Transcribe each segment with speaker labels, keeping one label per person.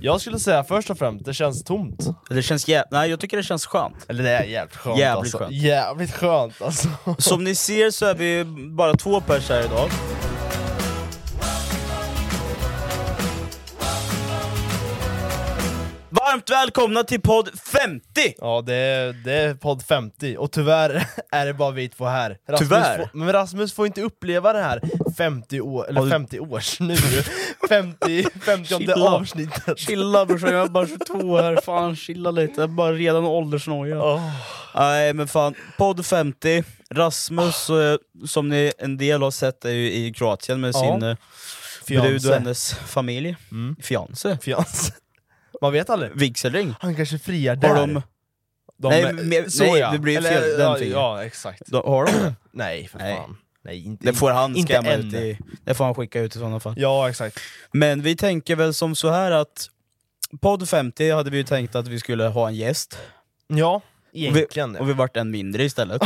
Speaker 1: Jag skulle säga först och främst, det känns tomt.
Speaker 2: Det känns jävligt... Nej jag tycker det känns skönt.
Speaker 1: Eller det är jävligt skönt
Speaker 2: Jävligt
Speaker 1: alltså.
Speaker 2: skönt.
Speaker 1: Jävligt skönt alltså.
Speaker 2: Som ni ser så är vi bara två pers här idag. Varmt välkomna till podd 50!
Speaker 1: Ja det är, det är podd 50, och tyvärr är det bara vi två här. Rasmus
Speaker 2: Tyvärr?
Speaker 1: Får, men Rasmus får inte uppleva det här 50 år,
Speaker 2: Ja,
Speaker 1: eller
Speaker 2: du-
Speaker 1: 50 års nu, 50, 50
Speaker 2: Chilla.
Speaker 1: avsnittet.
Speaker 2: Chilla brorsan, jag är bara 22 här, fan chilla lite, jag är bara redan åldersnoja.
Speaker 1: Åh.
Speaker 2: Nej men fan, podd 50, Rasmus eh, som ni en del har sett är ju i Kroatien med
Speaker 1: Ja.
Speaker 2: sin eh, brud och
Speaker 1: Fiance.
Speaker 2: hennes familj. Fiance?
Speaker 1: Fians. Man vet aldrig.
Speaker 2: Vigselring?
Speaker 1: Han kanske friar där.
Speaker 2: Har de...
Speaker 1: De-
Speaker 2: Nej, men-
Speaker 1: så
Speaker 2: nej,
Speaker 1: ja.
Speaker 2: det blir
Speaker 1: Eller,
Speaker 2: fel, den
Speaker 1: ja,
Speaker 2: fick-
Speaker 1: ja, exakt.
Speaker 2: de har de det?
Speaker 1: Nej, för
Speaker 2: Nej.
Speaker 1: fan. Nej, inte,
Speaker 2: Det får han
Speaker 1: inte
Speaker 2: skämma
Speaker 1: än.
Speaker 2: ut i, Det får han skicka ut i sådana fall.
Speaker 1: Ja, exakt.
Speaker 2: Men vi tänker väl som så här att Podd 50 hade vi ju tänkt att vi skulle ha en gäst,
Speaker 1: Ja,
Speaker 2: och vi,
Speaker 1: egentligen.
Speaker 2: och vi vart en mindre istället.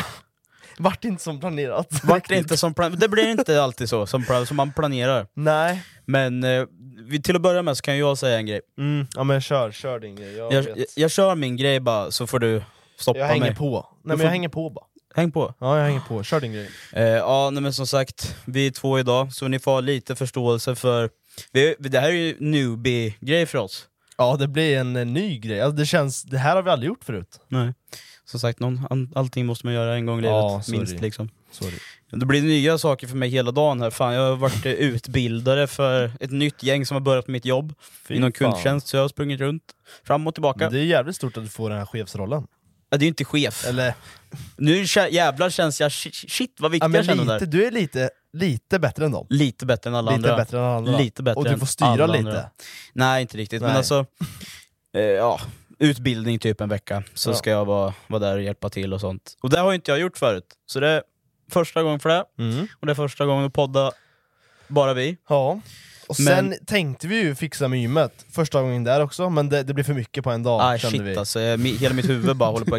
Speaker 1: Vart inte som planerat.
Speaker 2: Vart det, inte som plan- det blir inte alltid så som, plan- som man planerar.
Speaker 1: Nej.
Speaker 2: Men eh, vi, till att börja med så kan jag säga en grej.
Speaker 1: Mm. Ja men kör, kör din grej. Jag,
Speaker 2: Jag,
Speaker 1: vet.
Speaker 2: jag, jag kör min grej bara så får du stoppa
Speaker 1: jag hänger
Speaker 2: mig.
Speaker 1: på. Nej men
Speaker 2: får-
Speaker 1: jag hänger på bara.
Speaker 2: Häng på.
Speaker 1: Ja jag hänger på, kör din grej.
Speaker 2: Eh, ja nej, men som sagt, vi är två idag så ni får ha lite förståelse för... Vi, det här är ju newbie-grej för oss.
Speaker 1: Ja det blir en, eh, ny grej, alltså, det känns, det här har vi aldrig gjort förut.
Speaker 2: Nej. Som sagt, någon, an- allting måste man göra en gång i livet,
Speaker 1: Ja, sorry.
Speaker 2: minst liksom.
Speaker 1: Sorry.
Speaker 2: Det blir nya saker för mig hela dagen här. Fan, jag har varit eh, utbildare för ett nytt gäng som har börjat på mitt jobb
Speaker 1: Fy fan.
Speaker 2: inom kundtjänst, så jag har sprungit runt fram och tillbaka.
Speaker 1: Det är jävligt stort att du får den här chefsrollen.
Speaker 2: Ja, det är ju inte chef.
Speaker 1: Eller,
Speaker 2: Nu kä- jävlar känns jag, shi- shit vad viktig
Speaker 1: ja, men
Speaker 2: jag känner
Speaker 1: lite,
Speaker 2: där.
Speaker 1: du är lite, lite bättre än dem.
Speaker 2: Lite bättre än alla
Speaker 1: Lite
Speaker 2: andra.
Speaker 1: bättre än alla andra.
Speaker 2: Lite bättre
Speaker 1: Och du
Speaker 2: än
Speaker 1: får styra
Speaker 2: alla
Speaker 1: lite.
Speaker 2: andra. Nej, inte riktigt. Men
Speaker 1: Nej.
Speaker 2: alltså, eh, ja, utbildning typ en vecka, så
Speaker 1: Ja.
Speaker 2: ska jag vara, vara där och hjälpa till och sånt. Och det har ju inte jag gjort förut, så det är första gången för det.
Speaker 1: Mm.
Speaker 2: Och det är första gången att podda bara vi.
Speaker 1: Ja. Och sen tänkte vi ju fixa med gymmet första gången där också, men det, det blev för mycket på en dag
Speaker 2: ah,
Speaker 1: kände
Speaker 2: shit
Speaker 1: vi.
Speaker 2: alltså, jag, mi- hela mitt huvud bara håller på att
Speaker 1: Jag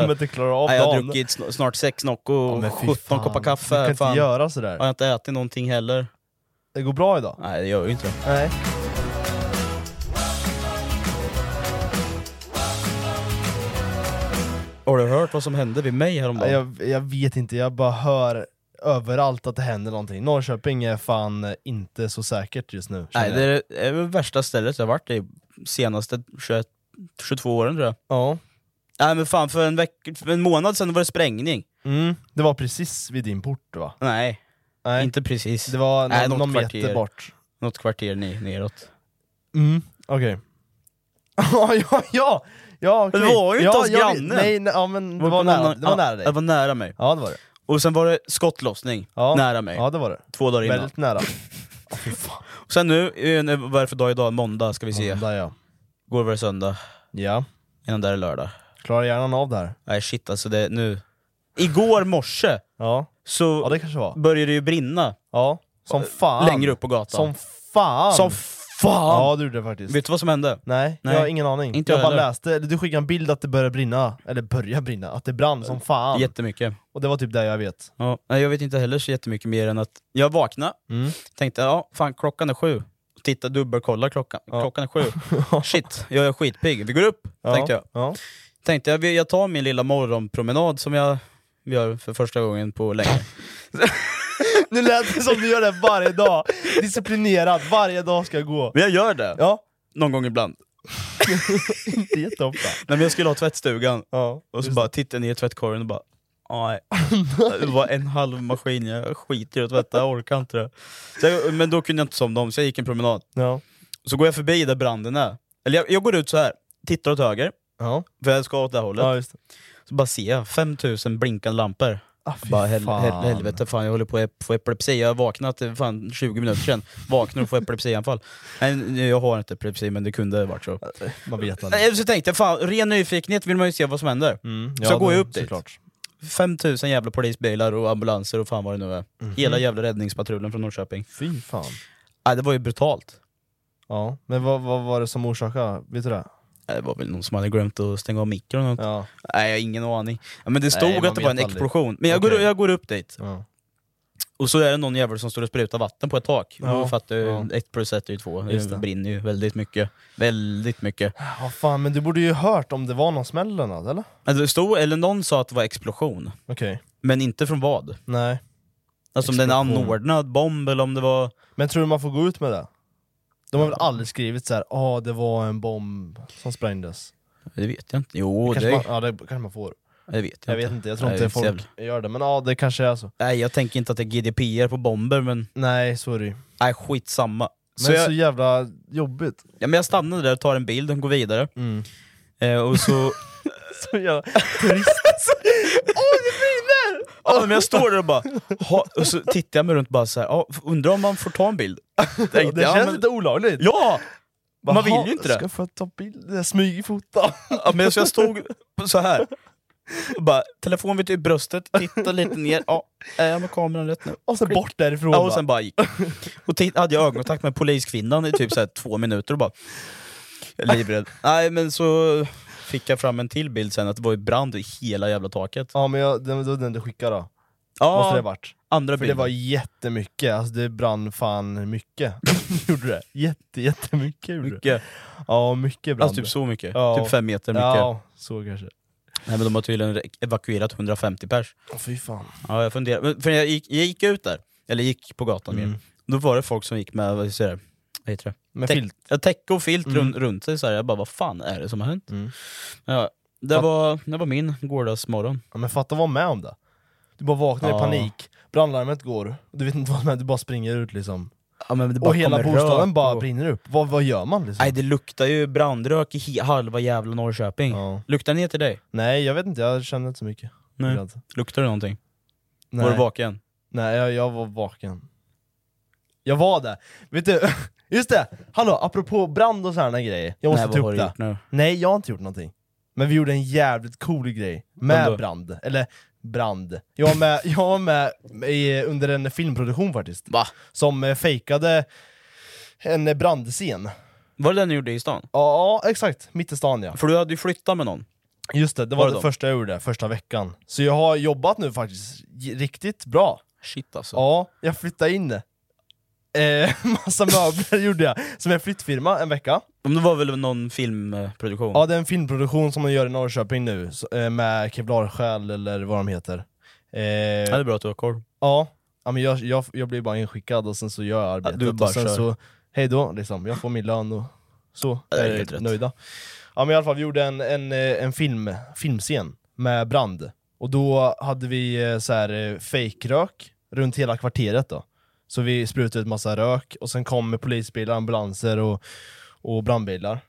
Speaker 1: kommer inte klara av
Speaker 2: Nej, jag har
Speaker 1: dagen.
Speaker 2: druckit sn- snart sex Nocco
Speaker 1: Ja,
Speaker 2: och
Speaker 1: men fy
Speaker 2: 17
Speaker 1: fan.
Speaker 2: koppar
Speaker 1: Du kan
Speaker 2: kaffe.
Speaker 1: inte
Speaker 2: Fan. Jag
Speaker 1: göra sådär.
Speaker 2: har inte ätit någonting heller.
Speaker 1: Det går bra idag.
Speaker 2: Nej, det gör ju inte det.
Speaker 1: Nej.
Speaker 2: Har du hört vad som hände vid mig häromdagen?
Speaker 1: Jag, jag vet inte, jag bara hör överallt att det händer någonting. Norrköping är fan inte så säkert just nu. känner
Speaker 2: Nej, det
Speaker 1: jag.
Speaker 2: är det är det värsta stället jag har varit i senaste 21, 22 åren tror jag.
Speaker 1: Ja.
Speaker 2: Nej men fan, för en, veck- för en månad sedan var det sprängning.
Speaker 1: Mm. det var precis vid din port va?
Speaker 2: Nej,
Speaker 1: Nej,
Speaker 2: inte precis.
Speaker 1: det var
Speaker 2: Nej,
Speaker 1: någon,
Speaker 2: något
Speaker 1: någon meter
Speaker 2: kvarter.
Speaker 1: bort.
Speaker 2: Något kvarter ni- neråt.
Speaker 1: Mm. Okej. ja, ja, ja! ja okej.
Speaker 2: Det var ju inte
Speaker 1: ja,
Speaker 2: oss
Speaker 1: jag vet-
Speaker 2: grannen.
Speaker 1: Nej, nej, ja, men det
Speaker 2: På
Speaker 1: var
Speaker 2: någon
Speaker 1: nära,
Speaker 2: annan-
Speaker 1: det var
Speaker 2: ja,
Speaker 1: nära
Speaker 2: Det
Speaker 1: dig.
Speaker 2: var nära mig.
Speaker 1: Ja det var det.
Speaker 2: Och sen var det skottlossning
Speaker 1: Ja.
Speaker 2: nära mig,
Speaker 1: Ja det var det.
Speaker 2: två dagar innan.
Speaker 1: Väldigt nära.
Speaker 2: Och sen nu, eh, vad är det för dag idag? Måndag ska vi se.
Speaker 1: Måndag, ja.
Speaker 2: Går var det söndag,
Speaker 1: ja.
Speaker 2: innan där är lördag.
Speaker 1: Klarar hjärnan av det här?
Speaker 2: Nej shit alltså, det nu... Igår morse
Speaker 1: Ja.
Speaker 2: så
Speaker 1: Ja det kanske var.
Speaker 2: började det ju brinna
Speaker 1: Ja. Som fan.
Speaker 2: Äh, längre upp på gatan.
Speaker 1: Som fan!
Speaker 2: Som fan!
Speaker 1: Ja du gjorde det faktiskt.
Speaker 2: Vet du vad som hände?
Speaker 1: Nej,
Speaker 2: Nej.
Speaker 1: jag har ingen aning.
Speaker 2: Inte
Speaker 1: jag
Speaker 2: jag
Speaker 1: bara
Speaker 2: heller.
Speaker 1: läste, eller du skickade en bild att det började brinna, eller började brinna, att det brann som fan.
Speaker 2: Jättemycket.
Speaker 1: och det var typ det jag vet.
Speaker 2: Ja, nej, jag vet inte heller så jättemycket mer än att jag vaknade,
Speaker 1: Mm.
Speaker 2: tänkte ja, fan klockan är sju. Titta, dubbelkolla klockan.
Speaker 1: Ja.
Speaker 2: Klockan är sju. Shit, jag är skitpigg. Vi går upp, tänkte jag.
Speaker 1: Ja.
Speaker 2: Tänkte jag, jag tar min lilla morgonpromenad som jag gör för första gången på länge.
Speaker 1: Nu lät det som du gör det varje dag! Disciplinerat, varje dag ska jag gå.
Speaker 2: Men jag gör det,
Speaker 1: Ja,
Speaker 2: någon gång ibland.
Speaker 1: inte jätteofta.
Speaker 2: Nej, men jag skulle ha tvättstugan,
Speaker 1: Ja.
Speaker 2: och så bara tittade jag ner i tvättkorgen och bara Nej, det var en halv maskin, jag skiter i att tvätta, jag orkar inte det. Så jag, men då kunde jag inte somna om, så jag gick en promenad.
Speaker 1: Ja.
Speaker 2: Så går jag förbi där branden är. Eller jag, jag går ut så här, tittar åt höger,
Speaker 1: Ja.
Speaker 2: för jag ska åt det här hållet.
Speaker 1: ja, just det.
Speaker 2: Så bara ser jag 5000 blinkande lampor.
Speaker 1: Ah, fy
Speaker 2: Bara hel, hel,
Speaker 1: fan.
Speaker 2: helvete, fan jag håller på att få epilepsi. Jag har vaknat eh, fan, 20 minuter sedan, vaknar och får epilepsianfall. Nej, nu- jag har inte epilepsi men det kunde ha varit så. Eh,
Speaker 1: Man vet aldrig.
Speaker 2: Nej, Så tänkte jag, fan, ren nyfikenhet vill man ju se vad som händer.
Speaker 1: Mm,
Speaker 2: Så går
Speaker 1: det-
Speaker 2: jag upp dit.
Speaker 1: såklart.
Speaker 2: 5000 jävla polisbilar och ambulanser och fan vad det nu är.
Speaker 1: Mhm.
Speaker 2: Hela jävla räddningspatrullen från Norrköping.
Speaker 1: Fy fan.
Speaker 2: Nej, det var ju brutalt.
Speaker 1: Ja, men vad, vad var det som orsakade, vet du det?
Speaker 2: Nej, Eh, Det var väl någon som hade glömt att stänga av mikron eller något.
Speaker 1: Ja.
Speaker 2: Nej, jag har ingen aning. Ja, men det stod
Speaker 1: Nej, man
Speaker 2: att det var en
Speaker 1: vet aldrig.
Speaker 2: explosion. Men jag, går,
Speaker 1: Okej.
Speaker 2: jag går upp dit,
Speaker 1: ja.
Speaker 2: och så är det någon jävel som står och sprutar vatten på ett tak.
Speaker 1: Ja,
Speaker 2: Då fattar ju,
Speaker 1: ja.
Speaker 2: ett plus ett är ju två.
Speaker 1: Just
Speaker 2: Det
Speaker 1: det.
Speaker 2: brinner ju väldigt mycket. Väldigt mycket.
Speaker 1: Ja, Ah, fan, men du borde ju hört om det var någon smäll eller något, eller?
Speaker 2: Men det stod, eller någon sa att det var explosion.
Speaker 1: Okej.
Speaker 2: Men inte från vad?
Speaker 1: Nej.
Speaker 2: Alltså om det är en
Speaker 1: Explosion.
Speaker 2: anordnad bomb eller om det var...
Speaker 1: Men tror du man får gå ut med det? De har väl aldrig skrivit så här, ah det var en bomb som sprängdes?
Speaker 2: Det vet jag inte. Jo, det,
Speaker 1: Kanske man, ja, det kanske man får.
Speaker 2: det vet jag,
Speaker 1: Jag vet inte, jag tror
Speaker 2: Nej,
Speaker 1: inte
Speaker 2: det är
Speaker 1: folk gör det, men ja, det kanske är så.
Speaker 2: Nej, jag tänker inte att det är GDPR på bomber, men
Speaker 1: Nej, sorry. Men
Speaker 2: nej, skitsamma. Så
Speaker 1: så,
Speaker 2: jag,
Speaker 1: jävla jobbigt.
Speaker 2: ja, men jag stannar där och tar en bild och går vidare.
Speaker 1: Mm.
Speaker 2: Eh, och så...
Speaker 1: Så jävla turist.
Speaker 2: Ja, men jag står där och bara... Ha, och så tittar jag mig runt och bara så här, ja, undrar om man får ta en bild? Tänkte
Speaker 1: det
Speaker 2: jag,
Speaker 1: känns
Speaker 2: men-
Speaker 1: lite olagligt.
Speaker 2: Ja! Man
Speaker 1: Bara,
Speaker 2: vill
Speaker 1: "Ha,
Speaker 2: ju inte det.
Speaker 1: Ska få ta bild, smygfota.
Speaker 2: ja men så jag stod så här. Och bara, telefon vid typ bröstet, titta lite ner, ja, är jag med kameran rätt nu?
Speaker 1: Och sen bort därifrån.
Speaker 2: Ja, och
Speaker 1: bara.
Speaker 2: sen bara gick. Och titt- hade jag ögonkontakt med poliskvinnan i typ så här två minuter och bara... Livrädd. Nej men så fick jag fram en till bild sen att det var ju brand i hela jävla taket.
Speaker 1: ja men jag, det var den du skickade då. Måste det
Speaker 2: Ja,
Speaker 1: varit.
Speaker 2: andra
Speaker 1: För det
Speaker 2: bilden.
Speaker 1: var jättemycket, alltså det brann fan mycket. gjorde det? Jätte, jättemycket gjorde det.
Speaker 2: mycket.
Speaker 1: Ja, mycket brann
Speaker 2: Alltså typ
Speaker 1: det.
Speaker 2: så mycket.
Speaker 1: Ja.
Speaker 2: Typ fem meter mycket.
Speaker 1: Ja, så kanske.
Speaker 2: Nej men de har tydligen re- evakuerat 150 pers.
Speaker 1: Åh fy fan.
Speaker 2: Ja jag funderar. Men- För jag gick, jag gick ut där, eller gick på gatan
Speaker 1: Mm.
Speaker 2: mer. Då var det folk som gick med, vad säger det? Vad heter det?
Speaker 1: Med
Speaker 2: Täck-
Speaker 1: filt.
Speaker 2: Ja, täcke och filt runt, runt sig så här. jag bara vad fan är det som har hänt?
Speaker 1: Mm.
Speaker 2: Ja, det,
Speaker 1: Fatt-
Speaker 2: var, det var min gårdagsmorgon.
Speaker 1: Ja, men fatta att vara med om det. Du bara vaknar
Speaker 2: Ja.
Speaker 1: i panik, brandlarmet går, du vet inte vad som händer, du bara springer ut liksom.
Speaker 2: Ja, men det
Speaker 1: Och hela
Speaker 2: kommer
Speaker 1: bostaden
Speaker 2: rök
Speaker 1: bara
Speaker 2: och-
Speaker 1: brinner upp. Vad, vad gör man liksom?
Speaker 2: Nej det luktar ju brandrök i he- halva jävla Norrköping.
Speaker 1: Ja.
Speaker 2: Luktar det ner till dig?
Speaker 1: Nej, jag vet inte, jag kände inte så mycket.
Speaker 2: Nej.
Speaker 1: Brand.
Speaker 2: Luktar det någonting?
Speaker 1: Nej.
Speaker 2: Var du vaken?
Speaker 1: Nej, jag, jag var vaken. Jag var det. Vet du, just det! Hallå, apropå brand och sådana grejer. Jag måste
Speaker 2: Nej,
Speaker 1: ta
Speaker 2: vad har
Speaker 1: upp
Speaker 2: du
Speaker 1: det.
Speaker 2: gjort nu?
Speaker 1: Nej, jag har inte gjort någonting. Men vi gjorde en jävligt cool grej
Speaker 2: Vadå?
Speaker 1: med brand. Eller brand. Jag var med, jag var med i, under en filmproduktion faktiskt.
Speaker 2: Va?
Speaker 1: Som eh, fejkade en brandscen.
Speaker 2: Var det den du gjorde i stan?
Speaker 1: Ja, exakt. Mitt i stan ja.
Speaker 2: För du hade ju flyttat med någon.
Speaker 1: Just det, det
Speaker 2: Var
Speaker 1: var
Speaker 2: det
Speaker 1: det
Speaker 2: de?
Speaker 1: första jag gjorde, första veckan. Så jag har jobbat nu faktiskt j- riktigt bra.
Speaker 2: Shit alltså.
Speaker 1: Ja, jag flyttade in eh, massa möbler gjorde jag, som en flyttfirma en vecka.
Speaker 2: Men det var väl någon filmproduktion?
Speaker 1: Ja, det är en filmproduktion som de gör i Norrköping nu, så, eh, med Kevlarsjäl eller vad de heter. Eh,
Speaker 2: Ja, det är bra att du har koll.
Speaker 1: ja, ja, men jag, jag, jag blir bara inskickad och sen så gör jag arbetet
Speaker 2: du bara
Speaker 1: och sen
Speaker 2: kör.
Speaker 1: så, hej då, liksom. jag får min lön och så
Speaker 2: Ja, det är helt
Speaker 1: är
Speaker 2: rätt.
Speaker 1: jag nöjda. Ja men i alla fall, vi gjorde en, en, eh, en film, filmscen med brand. Och då hade vi eh, så här eh, fejkrök runt hela kvarteret då. Så vi sprutade ut massa rök och sen kom polisbilar, ambulanser och, och brandbilar.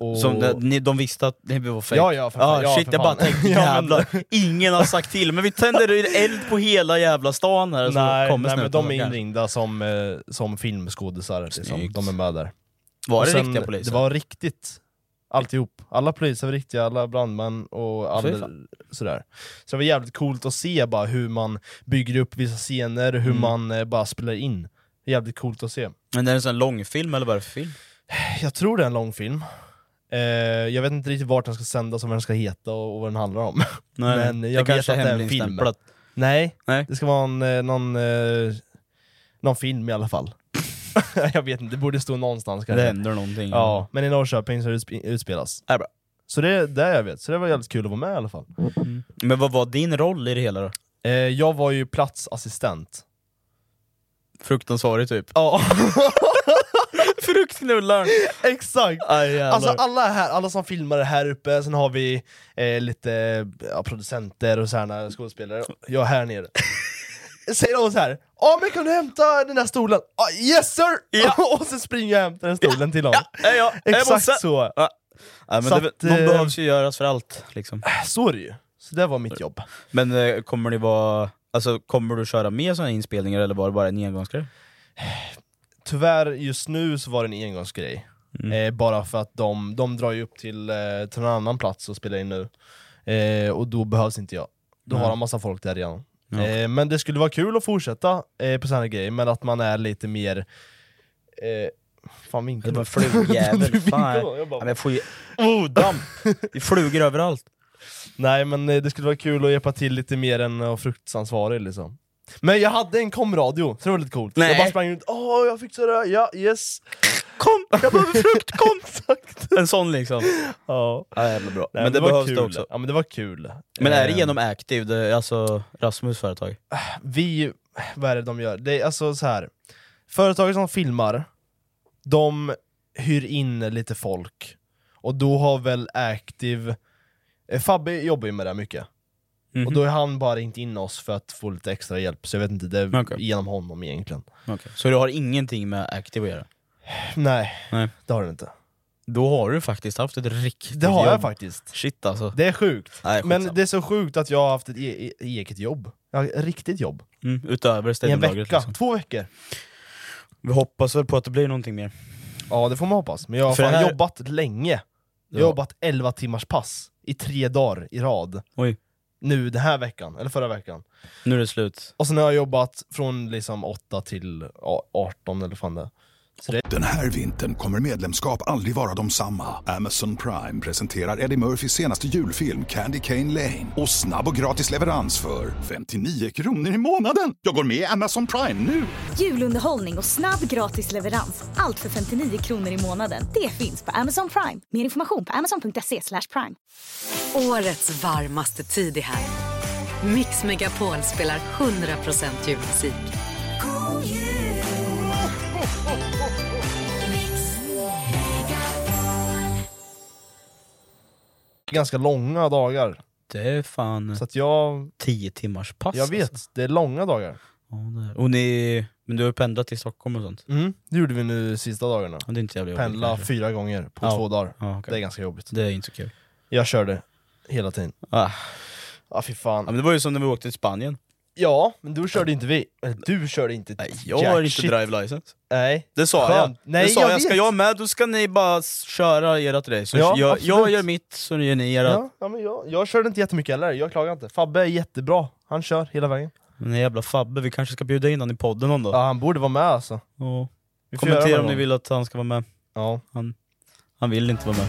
Speaker 1: Och...
Speaker 2: Som det, ni, de visste att det var fejk?
Speaker 1: Ja, ja, för fan. Ja,
Speaker 2: shit,
Speaker 1: för
Speaker 2: jag bara
Speaker 1: fan.
Speaker 2: tänkte
Speaker 1: Ja, men-
Speaker 2: jävlar, ingen har sagt till, men vi tänder eld på hela jävla stan här. Så
Speaker 1: Nej,
Speaker 2: kommer
Speaker 1: nej men
Speaker 2: snuten
Speaker 1: de är
Speaker 2: och-
Speaker 1: inringda som, eh, som filmskådisar. Liksom.
Speaker 2: Snyggt.
Speaker 1: De är med där.
Speaker 2: Var
Speaker 1: Och
Speaker 2: det
Speaker 1: sen-
Speaker 2: riktiga poliser?
Speaker 1: Det var riktigt. Alltihop. Alla poliser var riktiga, alla brandmän och
Speaker 2: Fy
Speaker 1: alla,
Speaker 2: fan.
Speaker 1: sådär. Så det var jävligt coolt att se bara hur man bygger upp vissa scener, hur
Speaker 2: Mm.
Speaker 1: man eh, bara spelar in. Jävligt coolt att se.
Speaker 2: Men är det en sån här långfilm eller vad är det för film?
Speaker 1: Jag tror det är en lång film. Eh, jag vet inte riktigt vart den ska sändas och vad den ska heta och, och vad den handlar om.
Speaker 2: Nej,
Speaker 1: Men
Speaker 2: nej.
Speaker 1: jag
Speaker 2: det
Speaker 1: vet
Speaker 2: kanske
Speaker 1: att
Speaker 2: är
Speaker 1: det är en
Speaker 2: hemligstämplat.
Speaker 1: Nej,
Speaker 2: Nej.
Speaker 1: det ska vara en, eh, någon, eh, någon film i alla fall. jag vet inte, det borde stå någonstans
Speaker 2: Det
Speaker 1: kanske.
Speaker 2: händer någonting.
Speaker 1: Ja, men i Norrköping så utsp- utspelas.
Speaker 2: Är det bra.
Speaker 1: Så det är det jag vet, så det var jävligt kul att vara med i alla fall.
Speaker 2: Men vad var din roll i det hela då?
Speaker 1: Eh, jag var ju platsassistent.
Speaker 2: Fruktansvarig typ.
Speaker 1: Ja,
Speaker 2: Fruktknullaren!
Speaker 1: exakt!
Speaker 2: Aj, jävlar.
Speaker 1: Alltså alla är här, alla som filmar är här uppe, sen har vi eh, lite ja, producenter och sådana skådespelare. Jag är här nere. Säger de så här. ja men kan du hämta den där stolen? Ah, yes sir!
Speaker 2: Ja.
Speaker 1: och så springer jag och hämtar den stolen till dem.
Speaker 2: ja, ja, jag måste-
Speaker 1: Exakt så.
Speaker 2: Ja. Nej, men
Speaker 1: Så
Speaker 2: det,
Speaker 1: att,
Speaker 2: någon
Speaker 1: eh,
Speaker 2: behövs ju göras för allt liksom.
Speaker 1: Så är det ju. Så det var mitt jobb.
Speaker 2: Men eh, kommer det vara... Alltså kommer du köra mer sådana inspelningar eller var det bara en engångsgrej?
Speaker 1: Tyvärr, just nu så var det en engångsgrej.
Speaker 2: Mm.
Speaker 1: Eh, bara för att de, de drar ju upp till, eh, till en annan plats och spelar in nu. Eh, och då behövs inte jag. då
Speaker 2: Ja.
Speaker 1: har han massa folk där igen.
Speaker 2: Ja.
Speaker 1: Eh, men det skulle vara kul att fortsätta eh, på sådana här grejer, men att man är lite mer... Eh, fan
Speaker 2: Det
Speaker 1: vinkel.
Speaker 2: var flugjävel, fan.
Speaker 1: Vinkel då, jag
Speaker 2: Ja,
Speaker 1: bara-
Speaker 2: men jag får ju... Oh, damp! Det flyger överallt.
Speaker 1: Nej men eh, det skulle vara kul att hjälpa till lite mer än att fruktansvarig liksom. Men jag hade en komradio, så det var lite coolt.
Speaker 2: Nej.
Speaker 1: Jag bara sprang runt, åh jag fixar det, här. ja yes.
Speaker 2: Kom! Jag behöver frukt, kom! En sån liksom.
Speaker 1: Ja.
Speaker 2: Ja, jävla bra.
Speaker 1: Nej,
Speaker 2: men, det, behövs
Speaker 1: kul.
Speaker 2: det också.
Speaker 1: Ja men det var kul.
Speaker 2: Men är det
Speaker 1: Eh,
Speaker 2: genom Active, det, alltså Rasmus företag?
Speaker 1: vi, vad är det de gör? Det är alltså så här. företag som filmar, de hyr in lite folk. Och då har väl Active, eh, Fabbe jobbar ju med det här mycket.
Speaker 2: Mhm.
Speaker 1: Och då är han bara ringt in oss för att få lite extra hjälp, så jag vet inte, det är
Speaker 2: Okej.
Speaker 1: genom honom egentligen.
Speaker 2: Okej. Så du har ingenting med Active att göra?
Speaker 1: Nej,
Speaker 2: Nej.
Speaker 1: det har den inte.
Speaker 2: Då har du faktiskt haft ett riktigt
Speaker 1: Det har jag
Speaker 2: jobb.
Speaker 1: faktiskt.
Speaker 2: Shit alltså.
Speaker 1: Det är sjukt.
Speaker 2: Nej,
Speaker 1: Men
Speaker 2: skitsamma.
Speaker 1: det är så sjukt att jag har haft ett e- e- eget jobb. Jag har ett riktigt jobb.
Speaker 2: Mm, utöver
Speaker 1: I en
Speaker 2: städbolaget
Speaker 1: vecka,
Speaker 2: liksom.
Speaker 1: två veckor.
Speaker 2: Vi hoppas väl på att det blir någonting mer.
Speaker 1: Ja det får man hoppas, men jag har
Speaker 2: För
Speaker 1: fan
Speaker 2: det här-
Speaker 1: jobbat länge. Jag har
Speaker 2: Ja.
Speaker 1: jobbat 11 timmars pass i tre dagar i rad.
Speaker 2: Oj.
Speaker 1: Nu den här veckan, eller förra veckan.
Speaker 2: Nu är det slut.
Speaker 1: Och sen har jag jobbat från liksom 8 till ja, 18 eller fan det är.
Speaker 3: Den här vintern kommer medlemskap aldrig vara de samma. Amazon Prime presenterar Eddie Murphys senaste julfilm Candy Cane Lane. Och snabb och gratis leverans för 59 kronor i månaden. Jag går med i Amazon Prime nu!
Speaker 4: Julunderhållning och snabb gratis leverans. Allt för 59 kronor i månaden. Det finns på Amazon Prime. Mer information på amazon.se slash prime.
Speaker 5: Årets varmaste tid är här. Mix Megapol spelar 100% julmusik.
Speaker 1: ganska långa dagar.
Speaker 2: Det är fan
Speaker 1: Så att jag,
Speaker 2: 10 timmars pass.
Speaker 1: jag vet,
Speaker 2: Alltså.
Speaker 1: det är långa dagar.
Speaker 2: Ja, det är- Och ni, men du har ju pendlat till Stockholm och sånt?
Speaker 1: Mm, det gjorde vi nu sista dagarna.
Speaker 2: Ja, Det är inte så jävla jobbigt
Speaker 1: Pendla
Speaker 2: kanske.
Speaker 1: fyra gånger på
Speaker 2: Ja.
Speaker 1: två dagar.
Speaker 2: Ja, okej.
Speaker 1: Det är ganska jobbigt.
Speaker 2: Det är inte så kul.
Speaker 1: Jag körde hela tiden.
Speaker 2: Ah.
Speaker 1: Ja fy
Speaker 2: Ja,
Speaker 1: fan.
Speaker 2: men det var ju som när vi åkte till Spanien.
Speaker 1: Ja, men du körde inte vi. Eller du körde inte
Speaker 2: Nej, jag
Speaker 1: jack
Speaker 2: har inte
Speaker 1: shit.
Speaker 2: drive license.
Speaker 1: Nej.
Speaker 2: Det sa
Speaker 1: Skönt.
Speaker 2: jag.
Speaker 1: Nej,
Speaker 2: det sa
Speaker 1: jag
Speaker 2: jag. Ska
Speaker 1: vet.
Speaker 2: jag med, då ska ni bara s- köra ert race.
Speaker 1: Ja,
Speaker 2: jag, jag
Speaker 1: absolut.
Speaker 2: gör mitt, så gör ni ert.
Speaker 1: Ja, ja, men jag, jag körde inte jättemycket heller, jag klagar inte. Fabbe är jättebra, han kör hela vägen.
Speaker 2: Den här jävla Fabbe, vi kanske ska bjuda in honom i podden någon dag.
Speaker 1: Ja, han borde vara med alltså.
Speaker 2: Ja.
Speaker 1: Vi får göra det
Speaker 2: Kommentera
Speaker 1: någon
Speaker 2: om ni
Speaker 1: gång.
Speaker 2: vill att han ska vara med.
Speaker 1: Ja.
Speaker 2: Han vill inte vara med.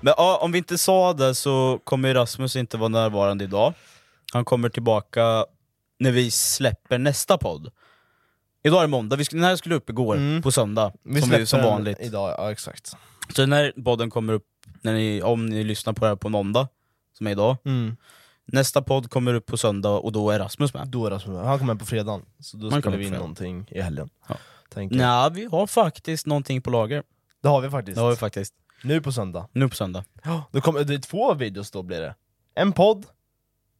Speaker 2: Men ja, om vi inte sa det så kommer Rasmus inte vara närvarande idag. Han kommer tillbaka när vi släpper nästa podd. Idag är det måndag, vi sk- den här skulle upp igår,
Speaker 1: Mm.
Speaker 2: på söndag.
Speaker 1: Vi
Speaker 2: som,
Speaker 1: släpper
Speaker 2: vi, som
Speaker 1: den
Speaker 2: vanligt.
Speaker 1: Idag, ja exakt.
Speaker 2: Så den här podden kommer upp, när ni, om ni lyssnar på det här på måndag, som är idag.
Speaker 1: Mm.
Speaker 2: Nästa podd kommer upp på söndag och då är Rasmus med.
Speaker 1: Då är det som- han kommer på fredagen, så då
Speaker 2: Han
Speaker 1: skulle
Speaker 2: kommer
Speaker 1: vi
Speaker 2: på
Speaker 1: in
Speaker 2: fredag.
Speaker 1: någonting i helgen.
Speaker 2: Ja.
Speaker 1: Tänker. jag.
Speaker 2: Nej, vi har faktiskt någonting på lager.
Speaker 1: Det har vi faktiskt.
Speaker 2: Det har vi faktiskt.
Speaker 1: Nu på söndag.
Speaker 2: Nu på söndag.
Speaker 1: Då kommer, det är två videos då blir det. En podd,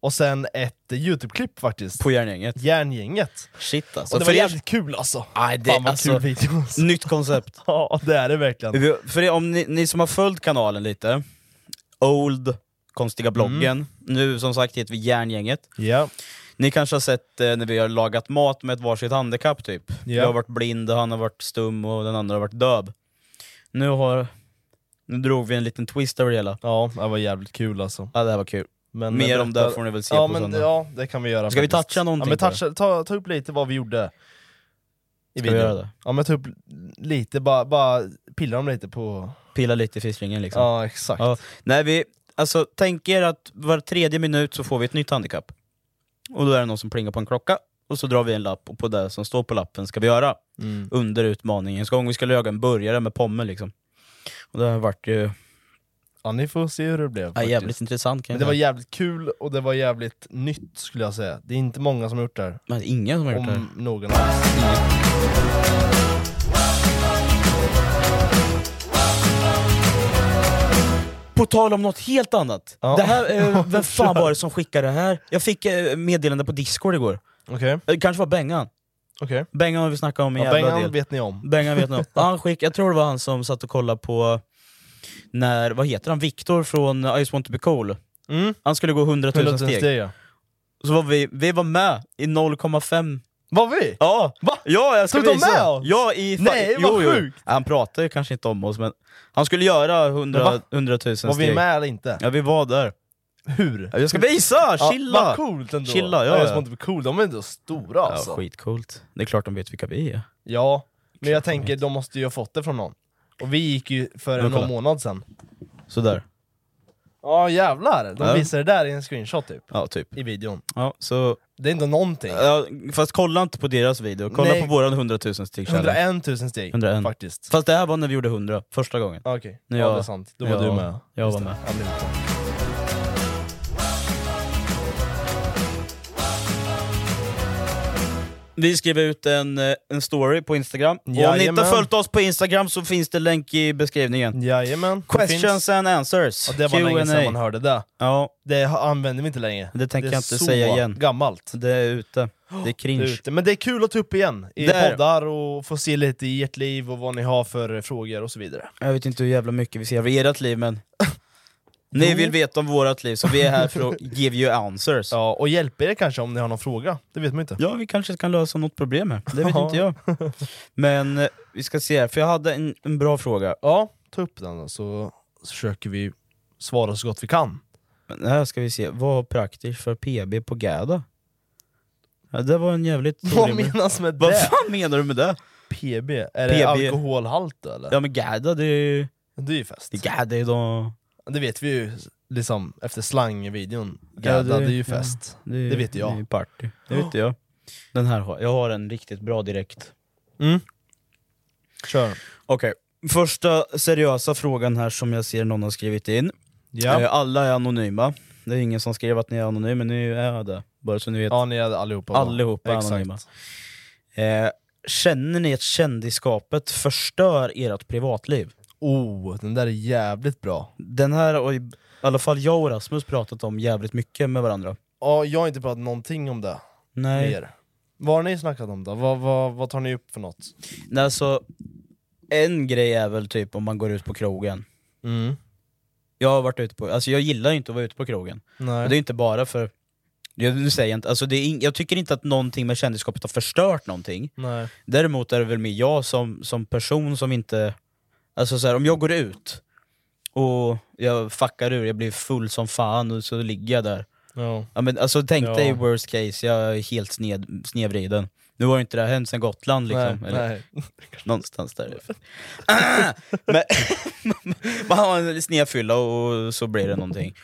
Speaker 1: och sen ett eh, Youtube-klipp faktiskt.
Speaker 2: På järngänget.
Speaker 1: Järngänget.
Speaker 2: Shit alltså.
Speaker 1: Och det var
Speaker 2: för er...
Speaker 1: jävligt kul alltså.
Speaker 2: Aj, det,
Speaker 1: Fan vad
Speaker 2: alltså,
Speaker 1: kul videos.
Speaker 2: Nytt koncept.
Speaker 1: Ja, det är det verkligen.
Speaker 2: Vi- För er, om ni, ni som har följt kanalen lite, Old, konstiga bloggen, nu som sagt heter vi järngänget.
Speaker 1: Ja.
Speaker 2: Ni kanske har sett eh, när vi har lagat mat med ett varsitt handikapp typ. Jag har
Speaker 1: Ja.
Speaker 2: varit blind, han har varit stum och den andra har varit döv. Nu har... Nu drog vi en liten twist över det hela.
Speaker 1: ja, det var jävligt kul alltså.
Speaker 2: Ja det här var kul.
Speaker 1: Men
Speaker 2: Mer
Speaker 1: eh,
Speaker 2: om
Speaker 1: berätta-
Speaker 2: det får ni väl se
Speaker 1: ja,
Speaker 2: på
Speaker 1: men,
Speaker 2: söndag.
Speaker 1: Ja, det kan vi göra
Speaker 2: Ska vi
Speaker 1: faktiskt.
Speaker 2: toucha någonting
Speaker 1: Ja, men
Speaker 2: på
Speaker 1: toucha, ta, ta upp lite vad vi gjorde i
Speaker 2: Ska vi
Speaker 1: videon.
Speaker 2: göra det?
Speaker 1: Ja men ta upp lite, bara, bara pilla dem lite på...
Speaker 2: Pilla lite i fisslingen liksom.
Speaker 1: Ja exakt.
Speaker 2: Ja. Nej, vi, alltså, tänk er att var tredje minut så får vi ett nytt handikapp. Och då är det någon som plingar på en klocka, och så drar vi en lapp, och på det som står på lappen ska vi göra
Speaker 1: Mm.
Speaker 2: under utmaningens gång. Vi ska laga en burgare med pommes liksom. Och det har varit ju
Speaker 1: ja ni får se hur det blev
Speaker 2: ja,
Speaker 1: faktiskt.
Speaker 2: jävligt intressant kan
Speaker 1: Men
Speaker 2: jag
Speaker 1: det var
Speaker 2: säga.
Speaker 1: jävligt kul och det var jävligt nytt skulle jag säga. Det är inte många som har gjort det här.
Speaker 2: Men ingen som har gjort det här.
Speaker 1: Om någon alls.
Speaker 2: På tal om något helt annat.
Speaker 1: Ja.
Speaker 2: Det här, eh, vem fan var det som skickade det här? Jag fick eh, meddelande på discord igår.
Speaker 1: Okej,
Speaker 2: Eh, Det kanske var Bengan.
Speaker 1: okej.
Speaker 2: Bengan har vi snackat om en
Speaker 1: Ja,
Speaker 2: jävla
Speaker 1: Bengan
Speaker 2: del.
Speaker 1: vet ni om.
Speaker 2: Bengan vet nog. Han skick, jag tror det var han som satt och kollade på när, vad heter han, Viktor från I just want to be cool.
Speaker 1: Mm.
Speaker 2: Han skulle gå 100 000
Speaker 1: 100
Speaker 2: steg.
Speaker 1: steg ja.
Speaker 2: Så var vi, vi var med i 0,5.
Speaker 1: Var vi?
Speaker 2: Ja!
Speaker 1: Va?
Speaker 2: Ja, jag ska
Speaker 1: Ska du ta
Speaker 2: visa.
Speaker 1: med oss?
Speaker 2: Ja, i fa-
Speaker 1: Nej, vad
Speaker 2: jo, jo.
Speaker 1: sjukt.
Speaker 2: Han pratade ju kanske inte om oss, men han skulle göra 100,
Speaker 1: Va?
Speaker 2: 100 000 steg.
Speaker 1: Var vi med eller inte?
Speaker 2: Ja, vi var där.
Speaker 1: Hur?
Speaker 2: Ja, Jag ska visa! Chilla!
Speaker 1: Ja, vad coolt ändå!
Speaker 2: Chilla, ja,
Speaker 1: Nej, jag
Speaker 2: ja.
Speaker 1: som inte coolt, de är ändå stora
Speaker 2: Ja,
Speaker 1: alltså.
Speaker 2: skitcoolt. Det är klart de vet vilka vi är.
Speaker 1: Ja, men jag tänker de måste ju ha fått det från någon. Och vi gick ju för
Speaker 2: Men kolla.
Speaker 1: någon månad sedan.
Speaker 2: Sådär.
Speaker 1: Ja jävlar, de
Speaker 2: Ja.
Speaker 1: visar det där i en screenshot typ,
Speaker 2: Ja, typ.
Speaker 1: i videon.
Speaker 2: Ja, så,
Speaker 1: Det är inte någonting.
Speaker 2: ja, fast kolla inte på deras video, kolla
Speaker 1: Nej.
Speaker 2: på våran 100 000 steg challenge.
Speaker 1: 101 000 steg
Speaker 2: 101.
Speaker 1: faktiskt.
Speaker 2: Fast det här var när vi gjorde 100, första gången.
Speaker 1: Ja, Okej,
Speaker 2: Nu
Speaker 1: ja,
Speaker 2: jag-
Speaker 1: det är sant. Då
Speaker 2: nu
Speaker 1: var du
Speaker 2: jag-
Speaker 1: med.
Speaker 2: jag
Speaker 1: Just
Speaker 2: var
Speaker 1: det.
Speaker 2: med.
Speaker 1: Ja, det är sant.
Speaker 2: Vi skrev ut en, eh, en story på Instagram. Och om ni inte
Speaker 1: Jajamän.
Speaker 2: har följt oss på Instagram så finns det länk i beskrivningen.
Speaker 1: Jajamän. det
Speaker 2: Questions
Speaker 1: finns.
Speaker 2: and answers.
Speaker 1: Ja, det var länge sedan man hörde det.
Speaker 2: Ja,
Speaker 1: Det använder vi inte längre.
Speaker 2: Det tänker
Speaker 1: är
Speaker 2: jag inte
Speaker 1: så
Speaker 2: säga igen.
Speaker 1: gammalt.
Speaker 2: det är ute. Det är
Speaker 1: Det är
Speaker 2: cringe.
Speaker 1: ute. Men det är kul att ta upp igen i
Speaker 2: Där.
Speaker 1: poddar och få se lite i ert liv och vad ni har för frågor och så vidare.
Speaker 2: Jag vet inte hur jävla mycket vi ser av ert liv men... Ni vill veta om vårt liv så vi är här för att give you answers.
Speaker 1: Ja, och hjälper er kanske om ni har någon fråga. Det vet man inte.
Speaker 2: Ja, vi kanske kan lösa något problem här. Det vet
Speaker 1: Ja.
Speaker 2: inte jag. Men eh, vi ska se här, för jag hade en, en bra fråga.
Speaker 1: Ja, ta upp den då så så försöker vi svara så gott vi kan.
Speaker 2: Men här ska vi se, vad har praktiskt för PB på GADA? Ja, det var en jävligt
Speaker 1: Vad
Speaker 2: orimlig-
Speaker 1: menas med
Speaker 2: Vad
Speaker 1: det?
Speaker 2: fan menar du med det?
Speaker 1: PB? Är
Speaker 2: PB?
Speaker 1: det alkoholhalt då, eller?
Speaker 2: Ja men GADA det är ju...
Speaker 1: Det är ju fest.
Speaker 2: det är GADA är då...
Speaker 1: Det vet vi ju liksom efter slangvideon.
Speaker 2: Ja,
Speaker 1: Gadda,
Speaker 2: det-
Speaker 1: det är ju
Speaker 2: ja.
Speaker 1: fest.
Speaker 2: är-
Speaker 1: Det vet jag.
Speaker 2: Det är ju party. Det vet jag. Den här har jag. har en riktigt bra direkt.
Speaker 1: Mm. Kör.
Speaker 2: Okej, första seriösa frågan här som jag ser någon har skrivit in.
Speaker 1: Ja.
Speaker 2: Eh, Alla är anonyma. Det är ingen som skrev att ni är anonyma, men ni är det. Bara så ni vet.
Speaker 1: ja, ni är allihopa. va?
Speaker 2: Allihopa är anonyma. Eh, känner ni att kändisskapet förstör ert privatliv?
Speaker 1: Oh, den där är jävligt bra.
Speaker 2: Den här har i alla fall jag och Rasmus pratat om jävligt mycket med varandra.
Speaker 1: Ja, jag har inte pratat någonting om det med
Speaker 2: Nej,
Speaker 1: er. Vad har ni snackat om då? Vad, vad, vad tar ni upp för något?
Speaker 2: Nej alltså, en grej är väl typ om man går ut på krogen.
Speaker 1: Mm.
Speaker 2: Jag har varit ute på, alltså jag gillar ju inte att vara ute på krogen.
Speaker 1: Nej.
Speaker 2: Och det är inte bara för, jag, nu säger jag, inte, alltså det är in, jag tycker inte att någonting med kändisskapet har förstört någonting.
Speaker 1: Nej.
Speaker 2: Däremot är det väl mer jag som, som person som inte, alltså så här, om jag går ut och jag fuckar ur, jag blir full som fan och så ligger jag där.
Speaker 1: Ja.
Speaker 2: Ja, men, alltså tänk
Speaker 1: Ja.
Speaker 2: dig worst case, jag är helt sned, snedvriden. Nu har ju inte det här hänt sen Gotland liksom,
Speaker 1: nej,
Speaker 2: eller
Speaker 1: nej.
Speaker 2: någonstans där. men, man har en snedfylla och så blir det någonting.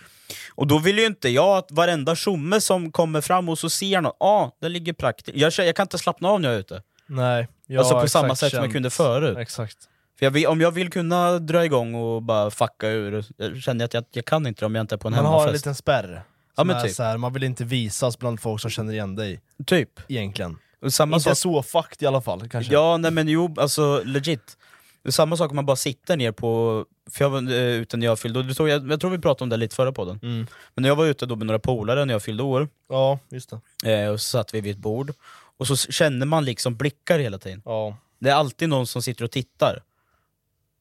Speaker 2: Och då vill ju inte jag att varenda tjomme som kommer fram och så ser någon, ah, där ligger praktiskt. Jag, känner- jag kan inte slappna av när jag är ute.
Speaker 1: Nej, jag
Speaker 2: Alltså på
Speaker 1: har
Speaker 2: samma
Speaker 1: exakt
Speaker 2: sätt som jag
Speaker 1: känt-
Speaker 2: kunde förut.
Speaker 1: Exakt.
Speaker 2: För jag vill, om jag vill kunna dra igång och bara fucka ur, jag känner jag att jag, jag kan inte det om jag inte är på en
Speaker 1: Man har en
Speaker 2: hemmafest.
Speaker 1: liten spärr.
Speaker 2: Ja,
Speaker 1: som
Speaker 2: men
Speaker 1: är
Speaker 2: typ.
Speaker 1: så här, man vill inte visas bland folk som känner igen dig,
Speaker 2: Typ.
Speaker 1: egentligen.
Speaker 2: Och samma
Speaker 1: inte
Speaker 2: sak,
Speaker 1: så fucked i alla fall kanske.
Speaker 2: alltså- ja nej men jo, alltså legit. Det är Samma sak om man bara sitter ner på, för jag var eh, ute när jag fyllde år, Du tror- jag, jag tror vi pratade om det lite förra podden.
Speaker 1: Mm.
Speaker 2: Men när jag var ute då med några polare när jag fyllde år,
Speaker 1: ja just det.
Speaker 2: eh, och så satt vi vid ett bord, och så s- känner man liksom blickar hela tiden.
Speaker 1: Ja.
Speaker 2: Det är alltid någon som sitter och tittar.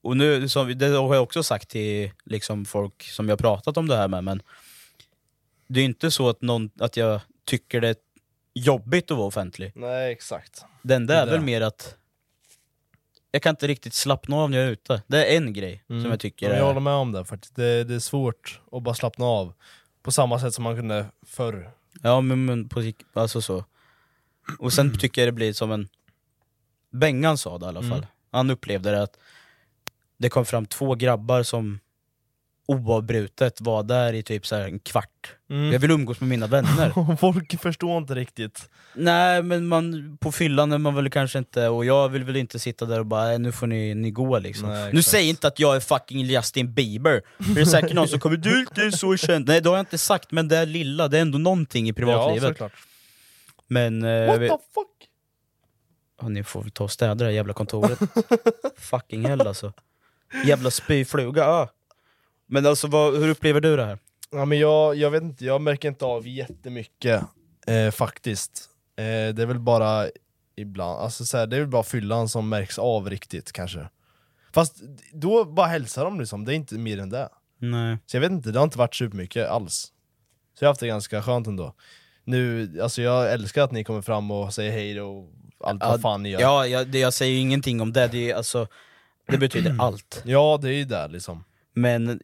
Speaker 2: Och nu, som, vi- det har jag också sagt till liksom folk som jag pratat om det här med, men det är inte så att, någon, att jag tycker det är jobbigt att vara offentlig.
Speaker 1: Nej exakt.
Speaker 2: Det enda
Speaker 1: Det
Speaker 2: är
Speaker 1: där.
Speaker 2: väl mer att jag kan inte riktigt slappna av när jag är ute. Det är en grej som jag tycker
Speaker 1: Mm. jag håller
Speaker 2: är...
Speaker 1: med om det faktiskt. Det, det är svårt att bara slappna av. På samma sätt som man kunde förr.
Speaker 2: Ja men, men på, sikt- alltså så. Och
Speaker 1: Mm.
Speaker 2: sen tycker jag det blir som en... Bengan sa det i alla fall. Han upplevde det att det kom fram två grabbar som oavbrutet var där i typ så här en kvart.
Speaker 1: Mm.
Speaker 2: Jag vill umgås med mina vänner.
Speaker 1: Folk förstår inte riktigt.
Speaker 2: Nej men man, på fyllan är man väl kanske inte, och jag vill väl inte sitta där och bara "Nej, nu får ni, ni gå liksom.
Speaker 1: Nej,
Speaker 2: nu
Speaker 1: exakt.
Speaker 2: säg inte att jag är fucking Justin Bieber, för det är säkert någon som kommer du är inte så känd. Nej det har jag inte sagt, men det är lilla, det är ändå någonting i
Speaker 1: Ja,
Speaker 2: privatlivet.
Speaker 1: såklart.
Speaker 2: men eh,
Speaker 1: What
Speaker 2: jag vet,
Speaker 1: the fuck?
Speaker 2: ja, ni får väl ta och städa det här jävla kontoret. fucking hell alltså. Jävla spyfluga. ja. Men alltså vad, hur upplever du det här?
Speaker 1: Ja, men jag, jag vet inte, jag märker inte av jättemycket eh, faktiskt. Eh, det är väl bara ibland, alltså så här, det är väl bara fyllan som märks av riktigt kanske. Fast då bara hälsar de liksom, det är inte mer än det.
Speaker 2: Nej.
Speaker 1: Så jag vet inte, det har inte varit supermycket alls. Så jag har haft det ganska skönt ändå. Nu, alltså jag älskar att ni kommer fram och säger hej då och allt vad fan ni gör. Ja,
Speaker 2: Ja, jag, det, jag säger ju ingenting om det, det, är, alltså, det betyder allt.
Speaker 1: det är ju där liksom.
Speaker 2: Men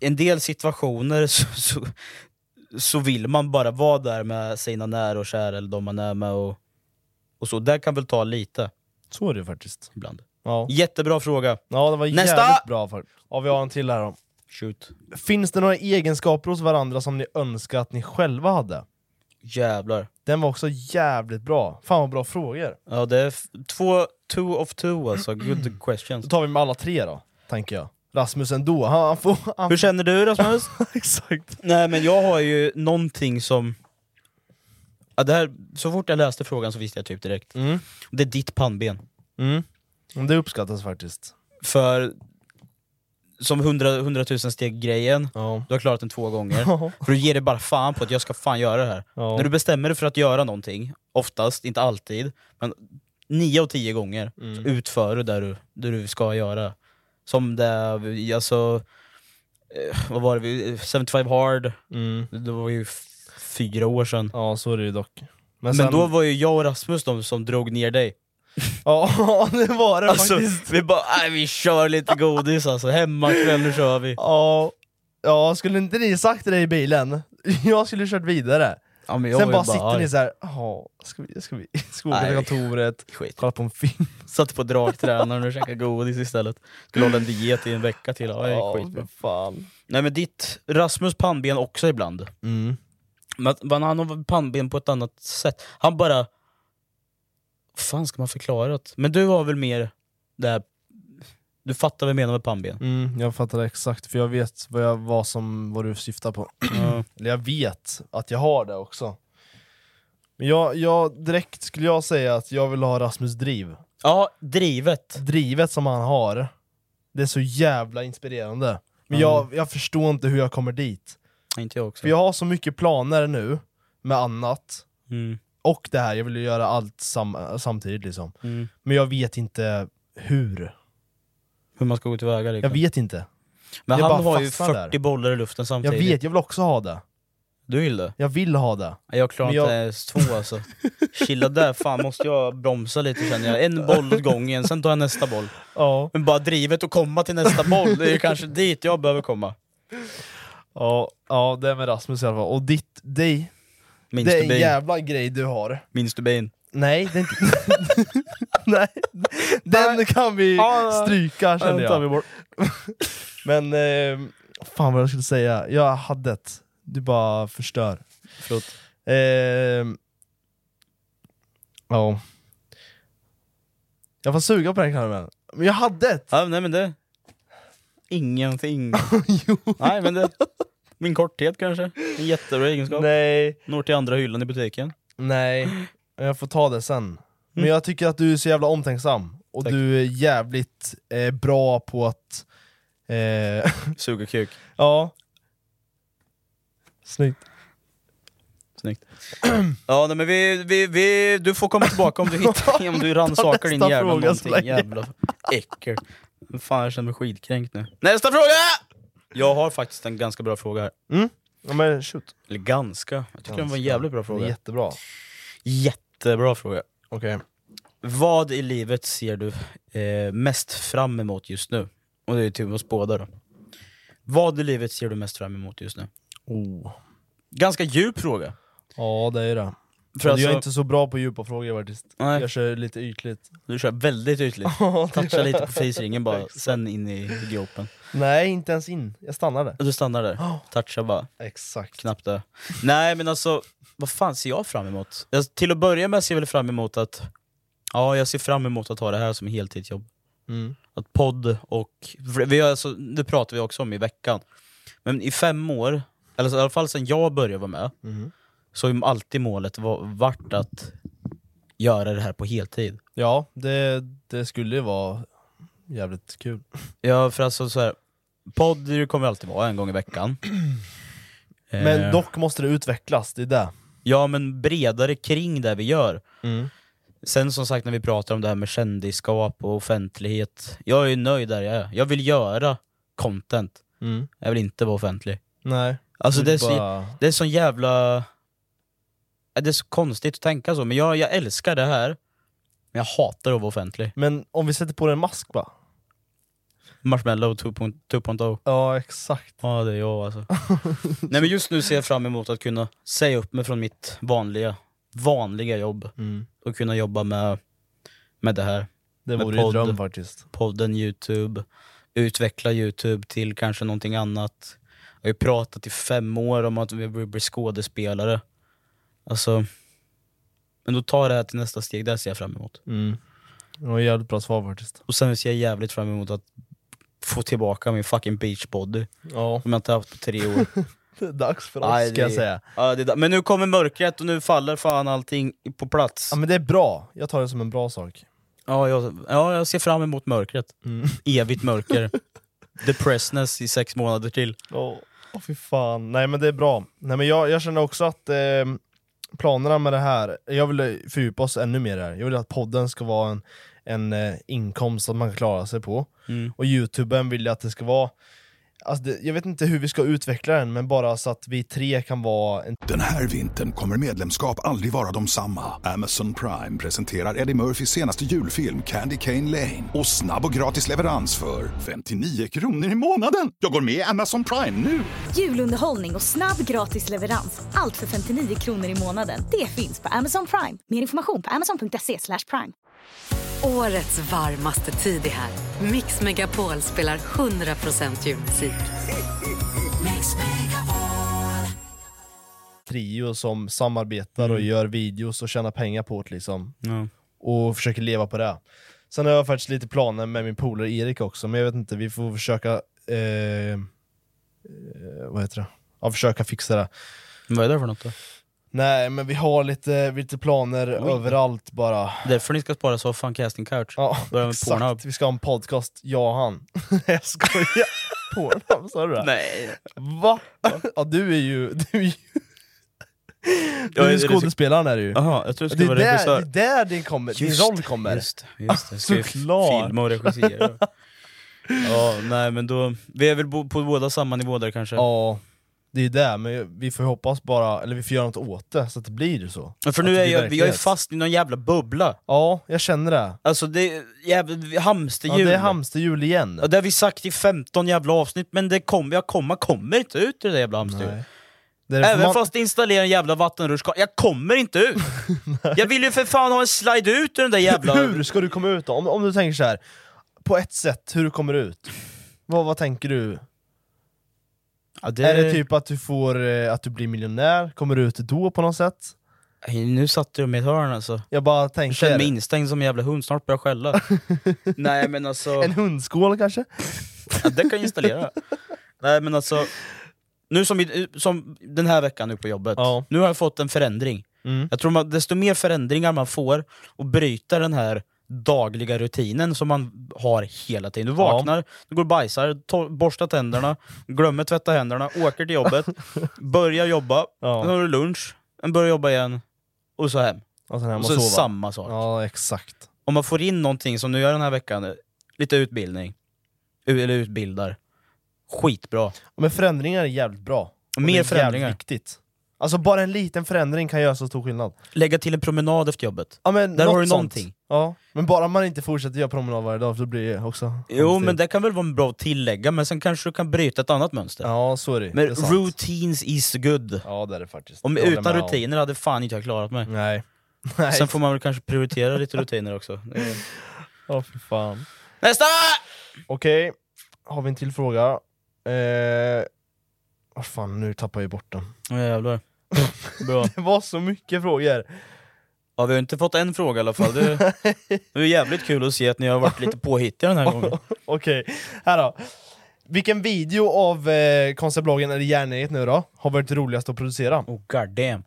Speaker 2: en del situationer så, så, så vill man bara vara där med sina nära och kära, eller de man är med och, och så. Där kan väl ta lite
Speaker 1: Så är det faktiskt.
Speaker 2: ibland.
Speaker 1: Ja,
Speaker 2: Jättebra fråga.
Speaker 1: ja det var
Speaker 2: Nästa!
Speaker 1: jävligt bra. För. Ja, vi har en till här då.
Speaker 2: Shoot.
Speaker 1: Finns det några egenskaper hos varandra som ni önskar att ni själva hade?
Speaker 2: Jävlar.
Speaker 1: Den var också jävligt bra. Fan vad bra frågor.
Speaker 2: Ja, det är f- två, two of two alltså, good questions.
Speaker 1: Då tar vi med alla tre då, tänker jag. Rasmus ändå, han, han får... Han
Speaker 2: Hur känner du Rasmus?
Speaker 1: Exakt.
Speaker 2: Nej men jag har ju någonting som... Ja, det här, så fort jag läste frågan så visste jag typ direkt.
Speaker 1: Mm.
Speaker 2: Det är ditt pannben.
Speaker 1: Mm. Men Det uppskattas faktiskt.
Speaker 2: För som 100, 100 000 steg grejen,
Speaker 1: Ja.
Speaker 2: du har klarat den två gånger. För du ger dig bara fan på att jag ska fan göra det här.
Speaker 1: Ja.
Speaker 2: När du bestämmer dig för att göra någonting, oftast, inte alltid, men nio av tio gånger
Speaker 1: Mm.
Speaker 2: så utför du där du, där du ska göra. Som det, vi- alltså, eh, vad var det, vi- 75 hard,
Speaker 1: Mm.
Speaker 2: det var ju f- fyra år sedan.
Speaker 1: ja, så är det ju dock. Men,
Speaker 2: Men då var ju jag och Rasmus de som drog ner dig.
Speaker 1: Ja, det var det
Speaker 2: Alltså,
Speaker 1: faktiskt.
Speaker 2: vi bara, "Nej, vi kör lite godis alltså, hemmakväll nu kör vi.
Speaker 1: Ja, ja, skulle inte ni sagt det där i bilen? Jag skulle kört vidare.
Speaker 2: Ja, men jag
Speaker 1: Sen
Speaker 2: var ju
Speaker 1: bara sitter
Speaker 2: arg.
Speaker 1: ni såhär, ja, ska vi, ska vi, ska vi åka till
Speaker 2: Nej.
Speaker 1: kontoret,
Speaker 2: Skit.
Speaker 1: kolla på en film?
Speaker 2: Satt på dragtränaren och käkade godis istället. Skulle hålla en diet i en vecka till. Ja, det gick skitbra.
Speaker 1: för fan.
Speaker 2: Nej men ditt Rasmus pannben också ibland.
Speaker 1: Mm.
Speaker 2: Men att- Men han har pannben på ett annat sätt. Han bara... fan ska man förklara det? Men du har väl mer det här... Du fattar vad jag menar med pannben?
Speaker 1: Mm, jag fattar exakt, för jag vet vad, jag, vad, som, vad du syftar på.
Speaker 2: Ja.
Speaker 1: Eller jag vet att jag har det också. Men jag, jag, direkt skulle jag säga att jag vill ha Rasmus driv.
Speaker 2: ja, drivet.
Speaker 1: Drivet som han har, det är så jävla inspirerande. Men jag, jag förstår inte hur jag kommer dit.
Speaker 2: Nej, Inte jag också.
Speaker 1: För jag har så mycket planer nu, med annat,
Speaker 2: Mm.
Speaker 1: och det här, jag vill ju göra allt sam- samtidigt liksom.
Speaker 2: Mm.
Speaker 1: Men jag vet inte hur.
Speaker 2: Hur man ska gå tillväga
Speaker 1: Jag
Speaker 2: liksom.
Speaker 1: vet inte.
Speaker 2: Men
Speaker 1: jag
Speaker 2: han
Speaker 1: bara
Speaker 2: har ju
Speaker 1: fastnar
Speaker 2: 40
Speaker 1: där.
Speaker 2: bollar i luften
Speaker 1: Jag
Speaker 2: samtidigt.
Speaker 1: vet, jag vill också ha det.
Speaker 2: Du vill det?
Speaker 1: Jag vill ha det.
Speaker 2: Nej, Jag klarar
Speaker 1: Men jag-
Speaker 2: inte ens två alltså. Chilla där, fan måste jag bromsa lite känner jag. En boll åt gången, sen tar jag nästa boll.
Speaker 1: Ja.
Speaker 2: Men bara drivet och komma till nästa boll, det är ju kanske dit jag behöver komma.
Speaker 1: Ja, ja det är med Rasmus i alla fall. Och ditt, dig,
Speaker 2: Minns
Speaker 1: det är
Speaker 2: du
Speaker 1: en
Speaker 2: bin?
Speaker 1: jävla grej du har.
Speaker 2: Minns du bin?
Speaker 1: Nej, den, nej, den kan vi
Speaker 2: Ja,
Speaker 1: stryka känner
Speaker 2: den tar
Speaker 1: jag. Men, eh, fan vad jag skulle säga. Jag hade ett. Du bara förstör.
Speaker 2: Förlåt.
Speaker 1: Ehm, ja. Jag får suga på den Carmen. Men jag hade ett!
Speaker 2: Ja, nej men det... Ingenting.
Speaker 1: jo.
Speaker 2: Nej men det... Min korthet kanske? En jättebra egenskap.
Speaker 1: Nej,
Speaker 2: Når till andra hyllan i butiken.
Speaker 1: nej. Jag får ta det sen. Men jag tycker att du är så jävla omtänksam. Och
Speaker 2: Tack.
Speaker 1: du är jävligt eh, bra på att... Eh,
Speaker 2: Suga kuk.
Speaker 1: ja. Snyggt.
Speaker 2: Snyggt. Ja nej, men vi, vi, vi, du får komma tillbaka om du hittar, om du rannsakar din
Speaker 1: Nästa
Speaker 2: hjärna
Speaker 1: fråga så
Speaker 2: någonting
Speaker 1: länge.
Speaker 2: jävla äckel. Fan jag känner mig skitkränkt nu. Nästa fråga! Jag har faktiskt en ganska bra fråga här.
Speaker 1: Ja men shoot.
Speaker 2: Eller ganska, jag tycker den var en
Speaker 1: Ganska.
Speaker 2: jävligt bra
Speaker 1: Det är
Speaker 2: fråga.
Speaker 1: jättebra.
Speaker 2: Jättebra fråga.
Speaker 1: Okej.
Speaker 2: Vad i livet ser du eh, mest fram emot just nu? Och det är till oss båda då. Vad i livet ser du mest fram emot just nu?
Speaker 1: Oh.
Speaker 2: Ganska djup fråga.
Speaker 1: Ja det är det.
Speaker 2: För
Speaker 1: För
Speaker 2: alltså,
Speaker 1: Jag är inte så bra på djupa frågor faktiskt.
Speaker 2: Nej.
Speaker 1: Jag kör lite ytligt.
Speaker 2: Du kör väldigt ytligt. Toucha lite på fisringen bara, sen in i gropen.
Speaker 1: Nej, inte ens in. Jag stannade.
Speaker 2: Du stannar där, toucha bara,
Speaker 1: Exakt.
Speaker 2: knappt det. Nej men alltså, vad fan ser jag fram emot? Jag, till att börja med ser jag väl fram emot att, ja jag ser fram emot att ha det här som heltidsjobb.
Speaker 1: Mm.
Speaker 2: Att podd och, för vi har alltså, det pratade vi också om i veckan, men i fem år, eller så, i alla fall sen jag började vara med,
Speaker 1: Mm.
Speaker 2: så har ju alltid målet var, varit att göra det här på heltid.
Speaker 1: Ja, det, det skulle ju vara jävligt kul.
Speaker 2: Ja, för alltså så här, podd det kommer alltid vara en gång i veckan.
Speaker 1: Men
Speaker 2: Eh,
Speaker 1: dock måste det utvecklas, det är det.
Speaker 2: Ja, men bredare kring det vi gör.
Speaker 1: Mm.
Speaker 2: Sen som sagt när vi pratar om det här med kändisskap och offentlighet. Jag är ju nöjd där jag är. Jag vill göra content.
Speaker 1: Mm.
Speaker 2: Jag vill inte vara offentlig.
Speaker 1: Nej.
Speaker 2: Alltså
Speaker 1: Du
Speaker 2: det är, så,
Speaker 1: bara...
Speaker 2: det är så jävla... Ja, Det är så konstigt att tänka så, men jag, jag älskar det här. Men jag hatar att vara offentlig.
Speaker 1: Men om vi sätter på den en mask bara?
Speaker 2: Marshmallow 2.0.
Speaker 1: Ja, exakt.
Speaker 2: Ja det är jag alltså. Nej men just nu ser jag fram emot att kunna säga upp mig från mitt vanliga, vanliga jobb
Speaker 1: Mm.
Speaker 2: och kunna jobba med, med det här.
Speaker 1: Det
Speaker 2: Med
Speaker 1: vore ju
Speaker 2: podd.
Speaker 1: dröm faktiskt.
Speaker 2: Podden, Youtube, utveckla Youtube till kanske någonting annat. Jag har ju pratat i fem år om att vi vill bli skådespelare. Alltså, men då tar det här till nästa steg, det ser jag fram emot.
Speaker 1: Mm. Det var ett jävligt bra svar faktiskt.
Speaker 2: Och sen ser jag jävligt fram emot att få tillbaka min fucking beachbody
Speaker 1: Ja.
Speaker 2: som jag inte haft på tre år.
Speaker 1: Det är dags för oss
Speaker 2: Nej,
Speaker 1: ska jag
Speaker 2: det-
Speaker 1: säga.
Speaker 2: Ja, det är da- men nu kommer mörkret och nu faller fan allting på plats.
Speaker 1: Ja men det är bra, jag tar det som en bra sak.
Speaker 2: Ja, jag, ja, jag ser fram emot mörkret.
Speaker 1: Mm.
Speaker 2: Evigt mörker. Depressness i sex månader till.
Speaker 1: Åh, åh, fy fan. Nej men det är bra. Nej men jag, jag känner också att eh, planerna med det här, jag vill fördjupa oss ännu mer här. Jag vill att podden ska vara en, en eh, inkomst som man kan klara sig på.
Speaker 2: Mm.
Speaker 1: Och youtuben vill jag att det ska vara Alltså det, jag vet inte hur vi ska utveckla den, men bara så att vi tre kan vara en
Speaker 3: Den här vintern kommer medlemskap aldrig vara de samma. Amazon Prime presenterar Eddie Murphys senaste julfilm Candy Cane Lane. Och snabb och gratis leverans för 59 kronor i månaden. Jag går med i Amazon Prime nu!
Speaker 4: Julunderhållning och snabb gratis leverans. Allt för 59 kronor i månaden. Det finns på Amazon Prime. Mer information på amazon.se slash prime.
Speaker 5: Årets varmaste tid är här. Mix Megapol spelar 100% julmusik.
Speaker 1: trio som samarbetar
Speaker 2: Mm.
Speaker 1: och gör videos och tjänar pengar på det liksom.
Speaker 2: Ja.
Speaker 1: och försöker leva på det. Sen har jag faktiskt lite planer med min polare Erik också, men jag vet inte, vi får försöka... Eh, eh, vad heter det? Ja, försöka fixa det.
Speaker 2: Vad är det för något då?
Speaker 1: Nej, men vi har lite, lite planer överallt bara.
Speaker 2: Därför ni ska spara så fan casting couch.
Speaker 1: Ja,
Speaker 2: Börja med
Speaker 1: exakt.
Speaker 2: Pornhub.
Speaker 1: Vi ska ha en podcast, jag och han. jag skojar! Pornhub, sa du det?
Speaker 2: Nej.
Speaker 1: Va? ja, du är ju... Du är ju, du
Speaker 2: Ja,
Speaker 1: är
Speaker 2: är
Speaker 1: ju
Speaker 2: det så-
Speaker 1: skådespelaren är du ju.
Speaker 2: Jaha, jag tror det
Speaker 1: Det
Speaker 2: ska
Speaker 1: är
Speaker 2: vara
Speaker 1: där, det
Speaker 2: regissör.
Speaker 1: är där din, kommer, din roll kommer.
Speaker 2: Just, det, just det. Jag ska ju
Speaker 1: Såklart.
Speaker 2: filma och regissera. ja, nej men då, vi är väl bo- på båda samma nivå där kanske.
Speaker 1: Ja, det är det, men vi får ju hoppas bara, eller vi får göra något åt det så att det blir så.
Speaker 2: För
Speaker 1: Att
Speaker 2: nu
Speaker 1: det
Speaker 2: är
Speaker 1: blir
Speaker 2: jag, jag är
Speaker 1: verklighet.
Speaker 2: fast i någon jävla bubbla.
Speaker 1: Ja, jag känner det.
Speaker 2: Alltså det är jävla
Speaker 1: Ja,
Speaker 2: hamsterhjul.
Speaker 1: det är hamsterhjul igen.
Speaker 2: Ja, det har vi sagt i 15 jävla avsnitt, men det kom, jag kommer, kommer inte ut ur det jävla hamsterhjulet.
Speaker 1: Nej. Det är därför
Speaker 2: Även
Speaker 1: man-
Speaker 2: fast det installerar en jävla vattenrutschkana, jag kommer inte ut! jag vill ju för fan ha en slide ut ur den där jävla...
Speaker 1: Hur ska du komma ut då? Om, om du tänker så här. på ett sätt, hur kommer du ut? Vad, vad tänker du?
Speaker 2: Ja,
Speaker 1: Är det typ att du, får, eh, att du blir miljonär? Kommer du ut då på något sätt?
Speaker 2: Nej, Nu satte du mig i ett hörn alltså.
Speaker 1: Jag bara
Speaker 2: Jag
Speaker 1: tänker...
Speaker 2: känner mig instängd som en jävla hund, snart börjar jag skälla. Nej men alltså,
Speaker 1: En hundskål kanske?
Speaker 2: ja, det kan jag installera. Nej men alltså, nu som, i- som den här veckan nu på jobbet,
Speaker 1: Ja.
Speaker 2: nu har jag fått en förändring.
Speaker 1: Mm.
Speaker 2: Jag tror man, desto mer förändringar man får och bryta den här dagliga rutinen som man har hela tiden. Du vaknar, du går och bajsar, to- borstar tänderna, glömmer tvätta händerna, åker till jobbet, börjar jobba,
Speaker 1: Ja.
Speaker 2: sen har du lunch, sen börjar jobba igen, och så hem.
Speaker 1: Och sen hem
Speaker 2: Och
Speaker 1: och
Speaker 2: så
Speaker 1: sova.
Speaker 2: samma sak.
Speaker 1: Ja, exakt.
Speaker 2: Om man får in någonting som nu gör den här veckan, lite utbildning, u- eller utbildar, skitbra.
Speaker 1: Men förändringar är jävligt bra. Och
Speaker 2: Mer
Speaker 1: det är
Speaker 2: förändringar.
Speaker 1: Jävligt viktigt. Alltså bara en liten förändring kan göra så stor skillnad.
Speaker 2: Lägga till en promenad efter jobbet.
Speaker 1: Ja, men
Speaker 2: Där
Speaker 1: något
Speaker 2: har du
Speaker 1: sånt.
Speaker 2: någonting.
Speaker 1: Ja, men bara man inte fortsätter göra promenad varje dag, för då blir det också...
Speaker 2: Jo men det kan väl vara en bra tillägga, men sen kanske du kan bryta ett annat mönster.
Speaker 1: Ja, så är det. det
Speaker 2: Men
Speaker 1: är sant.
Speaker 2: routines is good.
Speaker 1: Ja, det är det faktiskt.
Speaker 2: Om,
Speaker 1: Det håller jag
Speaker 2: utan
Speaker 1: med om.
Speaker 2: rutiner hade fan inte jag klarat mig.
Speaker 1: Nej. Nej.
Speaker 2: Sen får man väl kanske prioritera lite rutiner också. Eh.
Speaker 1: Ja, för fan.
Speaker 2: Nästa!
Speaker 1: Okej, har vi en till fråga? Eh... Åh fan, nu tappar jag bort den.
Speaker 2: Åh jävlar. Bra.
Speaker 1: Det var så mycket frågor!
Speaker 2: Ja, vi har inte fått en fråga i alla fall. Det, det är jävligt kul att se att ni har varit lite påhittiga den här gången.
Speaker 1: Okej, här då. Vilken video av eh, konstbloggen eller järneriet nu då, har varit roligast att producera?
Speaker 2: Oh god damn.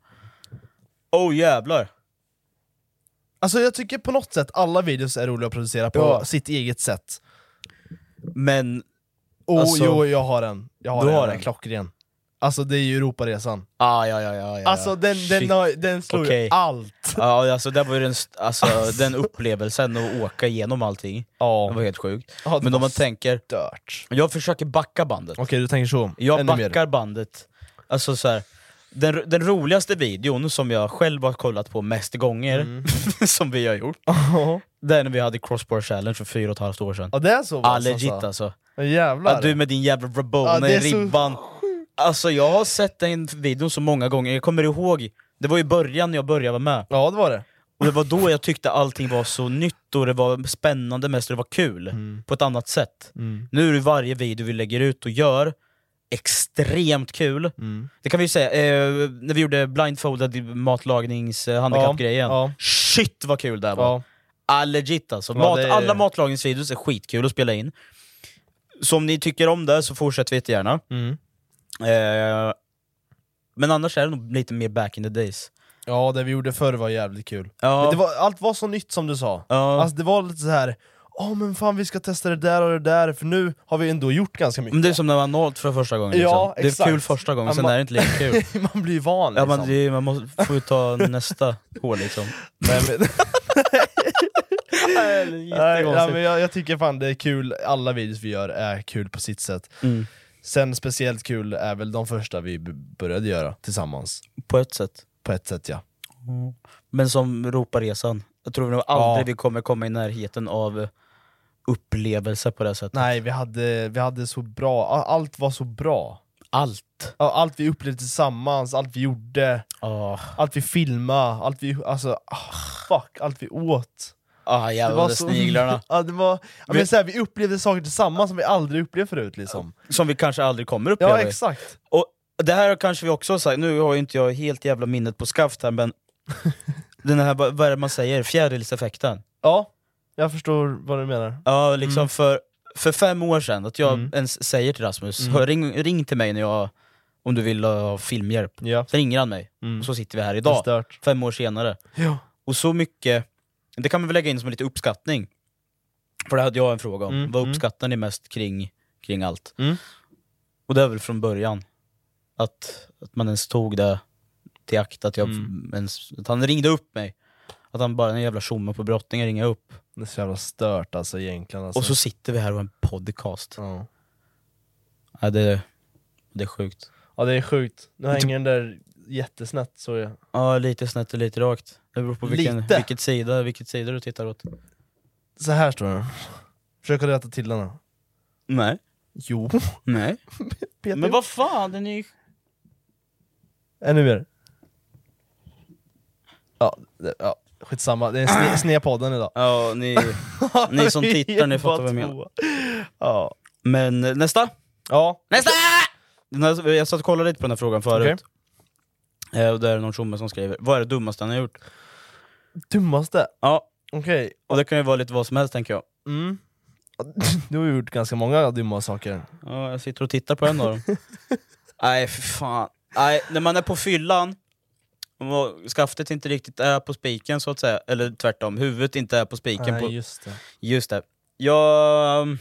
Speaker 2: Oh jävlar.
Speaker 1: Alltså jag tycker på något sätt alla videos är roliga att producera på
Speaker 2: Ja.
Speaker 1: sitt eget sätt.
Speaker 2: Men
Speaker 1: Oh,
Speaker 2: Alltså-
Speaker 1: jo, jag har en. Jag har
Speaker 2: Du
Speaker 1: en,
Speaker 2: har
Speaker 1: den
Speaker 2: en.
Speaker 1: klockren. Alltså det är ju Europaresan.
Speaker 2: Ah, ja, ja, ja, ja.
Speaker 1: Alltså den, den,
Speaker 2: Shit.
Speaker 1: har, den slår ju
Speaker 2: Okej.
Speaker 1: allt!
Speaker 2: Ja, alltså det var ju den, st- alltså, den upplevelsen att åka igenom allting, det var
Speaker 1: Ja,
Speaker 2: helt sjukt.
Speaker 1: Ja, det
Speaker 2: Men om
Speaker 1: var
Speaker 2: man tänker,
Speaker 1: stört.
Speaker 2: jag försöker backa bandet.
Speaker 1: Okej, du tänker så.
Speaker 2: Jag
Speaker 1: Ännu mer.
Speaker 2: backar bandet. Alltså så här. den, den roligaste videon som jag själv har kollat på mest gånger,
Speaker 1: Mm.
Speaker 2: som vi har gjort, det är när vi hade crossbar challenge för fyra och ett halvt år sedan.
Speaker 1: Ja det är så
Speaker 2: Ah,
Speaker 1: pass
Speaker 2: legit
Speaker 1: alltså.
Speaker 2: alltså.
Speaker 1: Ja, Jävlar.
Speaker 2: Ja, du med din jävla
Speaker 1: Ja,
Speaker 2: rabona
Speaker 1: det
Speaker 2: i
Speaker 1: är så
Speaker 2: ribban. Alltså jag har sett den videon så många gånger, jag kommer ihåg, det var i början när jag började vara med.
Speaker 1: Ja det var det.
Speaker 2: Och det var då jag tyckte allting var så nytt och det var spännande mest och det var kul.
Speaker 1: Mm.
Speaker 2: På ett annat sätt. Nu är det varje video vi lägger ut och gör extremt kul.
Speaker 1: Mm.
Speaker 2: Det kan vi ju säga, eh, när vi gjorde blindfolded matlagnings eh, handikappgrejen.
Speaker 1: Ja, ja.
Speaker 2: Shit vad kul det här var!
Speaker 1: Ja.
Speaker 2: Ah, legit alltså.
Speaker 1: Ja,
Speaker 2: Mat,
Speaker 1: det är-
Speaker 2: Alla matlagningsvideos är skitkul att spela in. Så om ni tycker om det så fortsätt jättegärna.
Speaker 1: Mm.
Speaker 2: Eh, men annars är det nog lite mer back in the days.
Speaker 1: ja det vi gjorde förr var jävligt kul.
Speaker 2: Ja.
Speaker 1: Men det var, allt var så nytt som du sa.
Speaker 2: Ja.
Speaker 1: Alltså det var lite så här. åh men fan vi ska testa det där och det där, för nu har vi ändå gjort ganska mycket.
Speaker 2: Men det är som när man har nollat för första gången.
Speaker 1: Ja,
Speaker 2: liksom. Det är
Speaker 1: exakt.
Speaker 2: kul första gången,
Speaker 1: Ja,
Speaker 2: sen
Speaker 1: man-
Speaker 2: är det inte lika kul.
Speaker 1: man blir van
Speaker 2: Ja,
Speaker 1: liksom.
Speaker 2: man, det, man måste, får ju ta nästa hål liksom.
Speaker 1: Nej, men, nej, nej, men
Speaker 2: Jättekonstigt.
Speaker 1: jag, jag tycker fan det är kul, alla videos vi gör är kul på sitt sätt.
Speaker 2: Mm.
Speaker 1: Sen speciellt kul är väl de första vi b- började göra tillsammans.
Speaker 2: På ett sätt.
Speaker 1: På ett sätt ja.
Speaker 2: Men som Ropa Resan, jag tror nog aldrig
Speaker 1: Ja.
Speaker 2: vi kommer komma i närheten av upplevelser på det sättet.
Speaker 1: Nej, vi hade, vi hade så bra, a- allt var så bra.
Speaker 2: Allt!
Speaker 1: Ja, Allt vi upplevde tillsammans, allt vi gjorde,
Speaker 2: Ah,
Speaker 1: allt vi filmade, allt vi, alltså, ah, fuck, allt vi åt.
Speaker 2: ah jävlar sniglarna.
Speaker 1: ja, det var, ja, men så här, vi upplevde saker tillsammans som vi aldrig upplevt förut liksom.
Speaker 2: Som vi kanske aldrig kommer uppleva.
Speaker 1: Ja, exakt.
Speaker 2: Och det här kanske vi också har sagt, nu har ju inte jag helt jävla minnet på skaft här men Den här, vad vad är det man säger, fjärilseffekten?
Speaker 1: Ja, jag förstår vad du menar.
Speaker 2: Ja, liksom
Speaker 1: Mm.
Speaker 2: för, för fem år sedan, att jag ens säger till Rasmus,
Speaker 1: Mm.
Speaker 2: "Hör, ring, ring till mig när jag, om du vill ha filmhjälp.
Speaker 1: Ja.
Speaker 2: Så ringer han mig,
Speaker 1: Mm.
Speaker 2: och så sitter vi här
Speaker 1: Det är
Speaker 2: idag,
Speaker 1: stört.
Speaker 2: fem år senare.
Speaker 1: Ja.
Speaker 2: Och så mycket, det kan man väl lägga in som en liten uppskattning. För det hade jag en fråga om,
Speaker 1: Mm,
Speaker 2: vad
Speaker 1: mm.
Speaker 2: uppskattar ni mest kring, kring allt?
Speaker 1: Mm.
Speaker 2: Och det är väl från början, att, att man ens tog det till akt, att, jag,
Speaker 1: Mm.
Speaker 2: ens, att han ringde upp mig. Att han bara, den jävla tjomme på brottningen ringer jag upp.
Speaker 1: Det är så jävla stört alltså egentligen. Alltså.
Speaker 2: Och så sitter vi här och har en podcast.
Speaker 1: ja.
Speaker 2: Ja, det, det är sjukt.
Speaker 1: ja, det är sjukt. Nu hänger den där jättesnett så jag.
Speaker 2: Ja, lite snett och lite rakt. Det beror på vilken,
Speaker 1: Lite.
Speaker 2: vilket sida, vilket sida du tittar åt.
Speaker 1: Så här står den. Försök att rätta till den här.
Speaker 2: Nej.
Speaker 1: Jo.
Speaker 2: Nej.
Speaker 1: Peter.
Speaker 2: Men vad fan, den är ju...
Speaker 1: Ännu mer. Ja, det, ja, skitsamma. Det är sne, snedpodden idag.
Speaker 2: Ja, ni, ni som tittar, ni fattar vad jag menar.
Speaker 1: menar. Ja.
Speaker 2: Men eh, nästa!
Speaker 1: ja.
Speaker 2: Nästa! Den här, jag satt och kollade lite på den här frågan förut. Eh, och där är det någon tjomme som skriver, vad är det dummaste han har gjort?
Speaker 1: Dummaste.
Speaker 2: Ja,
Speaker 1: Okej.
Speaker 2: och det kan ju vara lite vad som helst tänker jag.
Speaker 1: Mm. Du har ju gjort ganska många dumma saker.
Speaker 2: Ja, jag sitter och tittar på en av dem. Nej, för fan. Nej, när man är på fyllan och skaftet inte riktigt är på spiken så att säga, eller tvärtom, huvudet inte är på spiken. på... just...
Speaker 1: just det.
Speaker 2: det. Jag, um,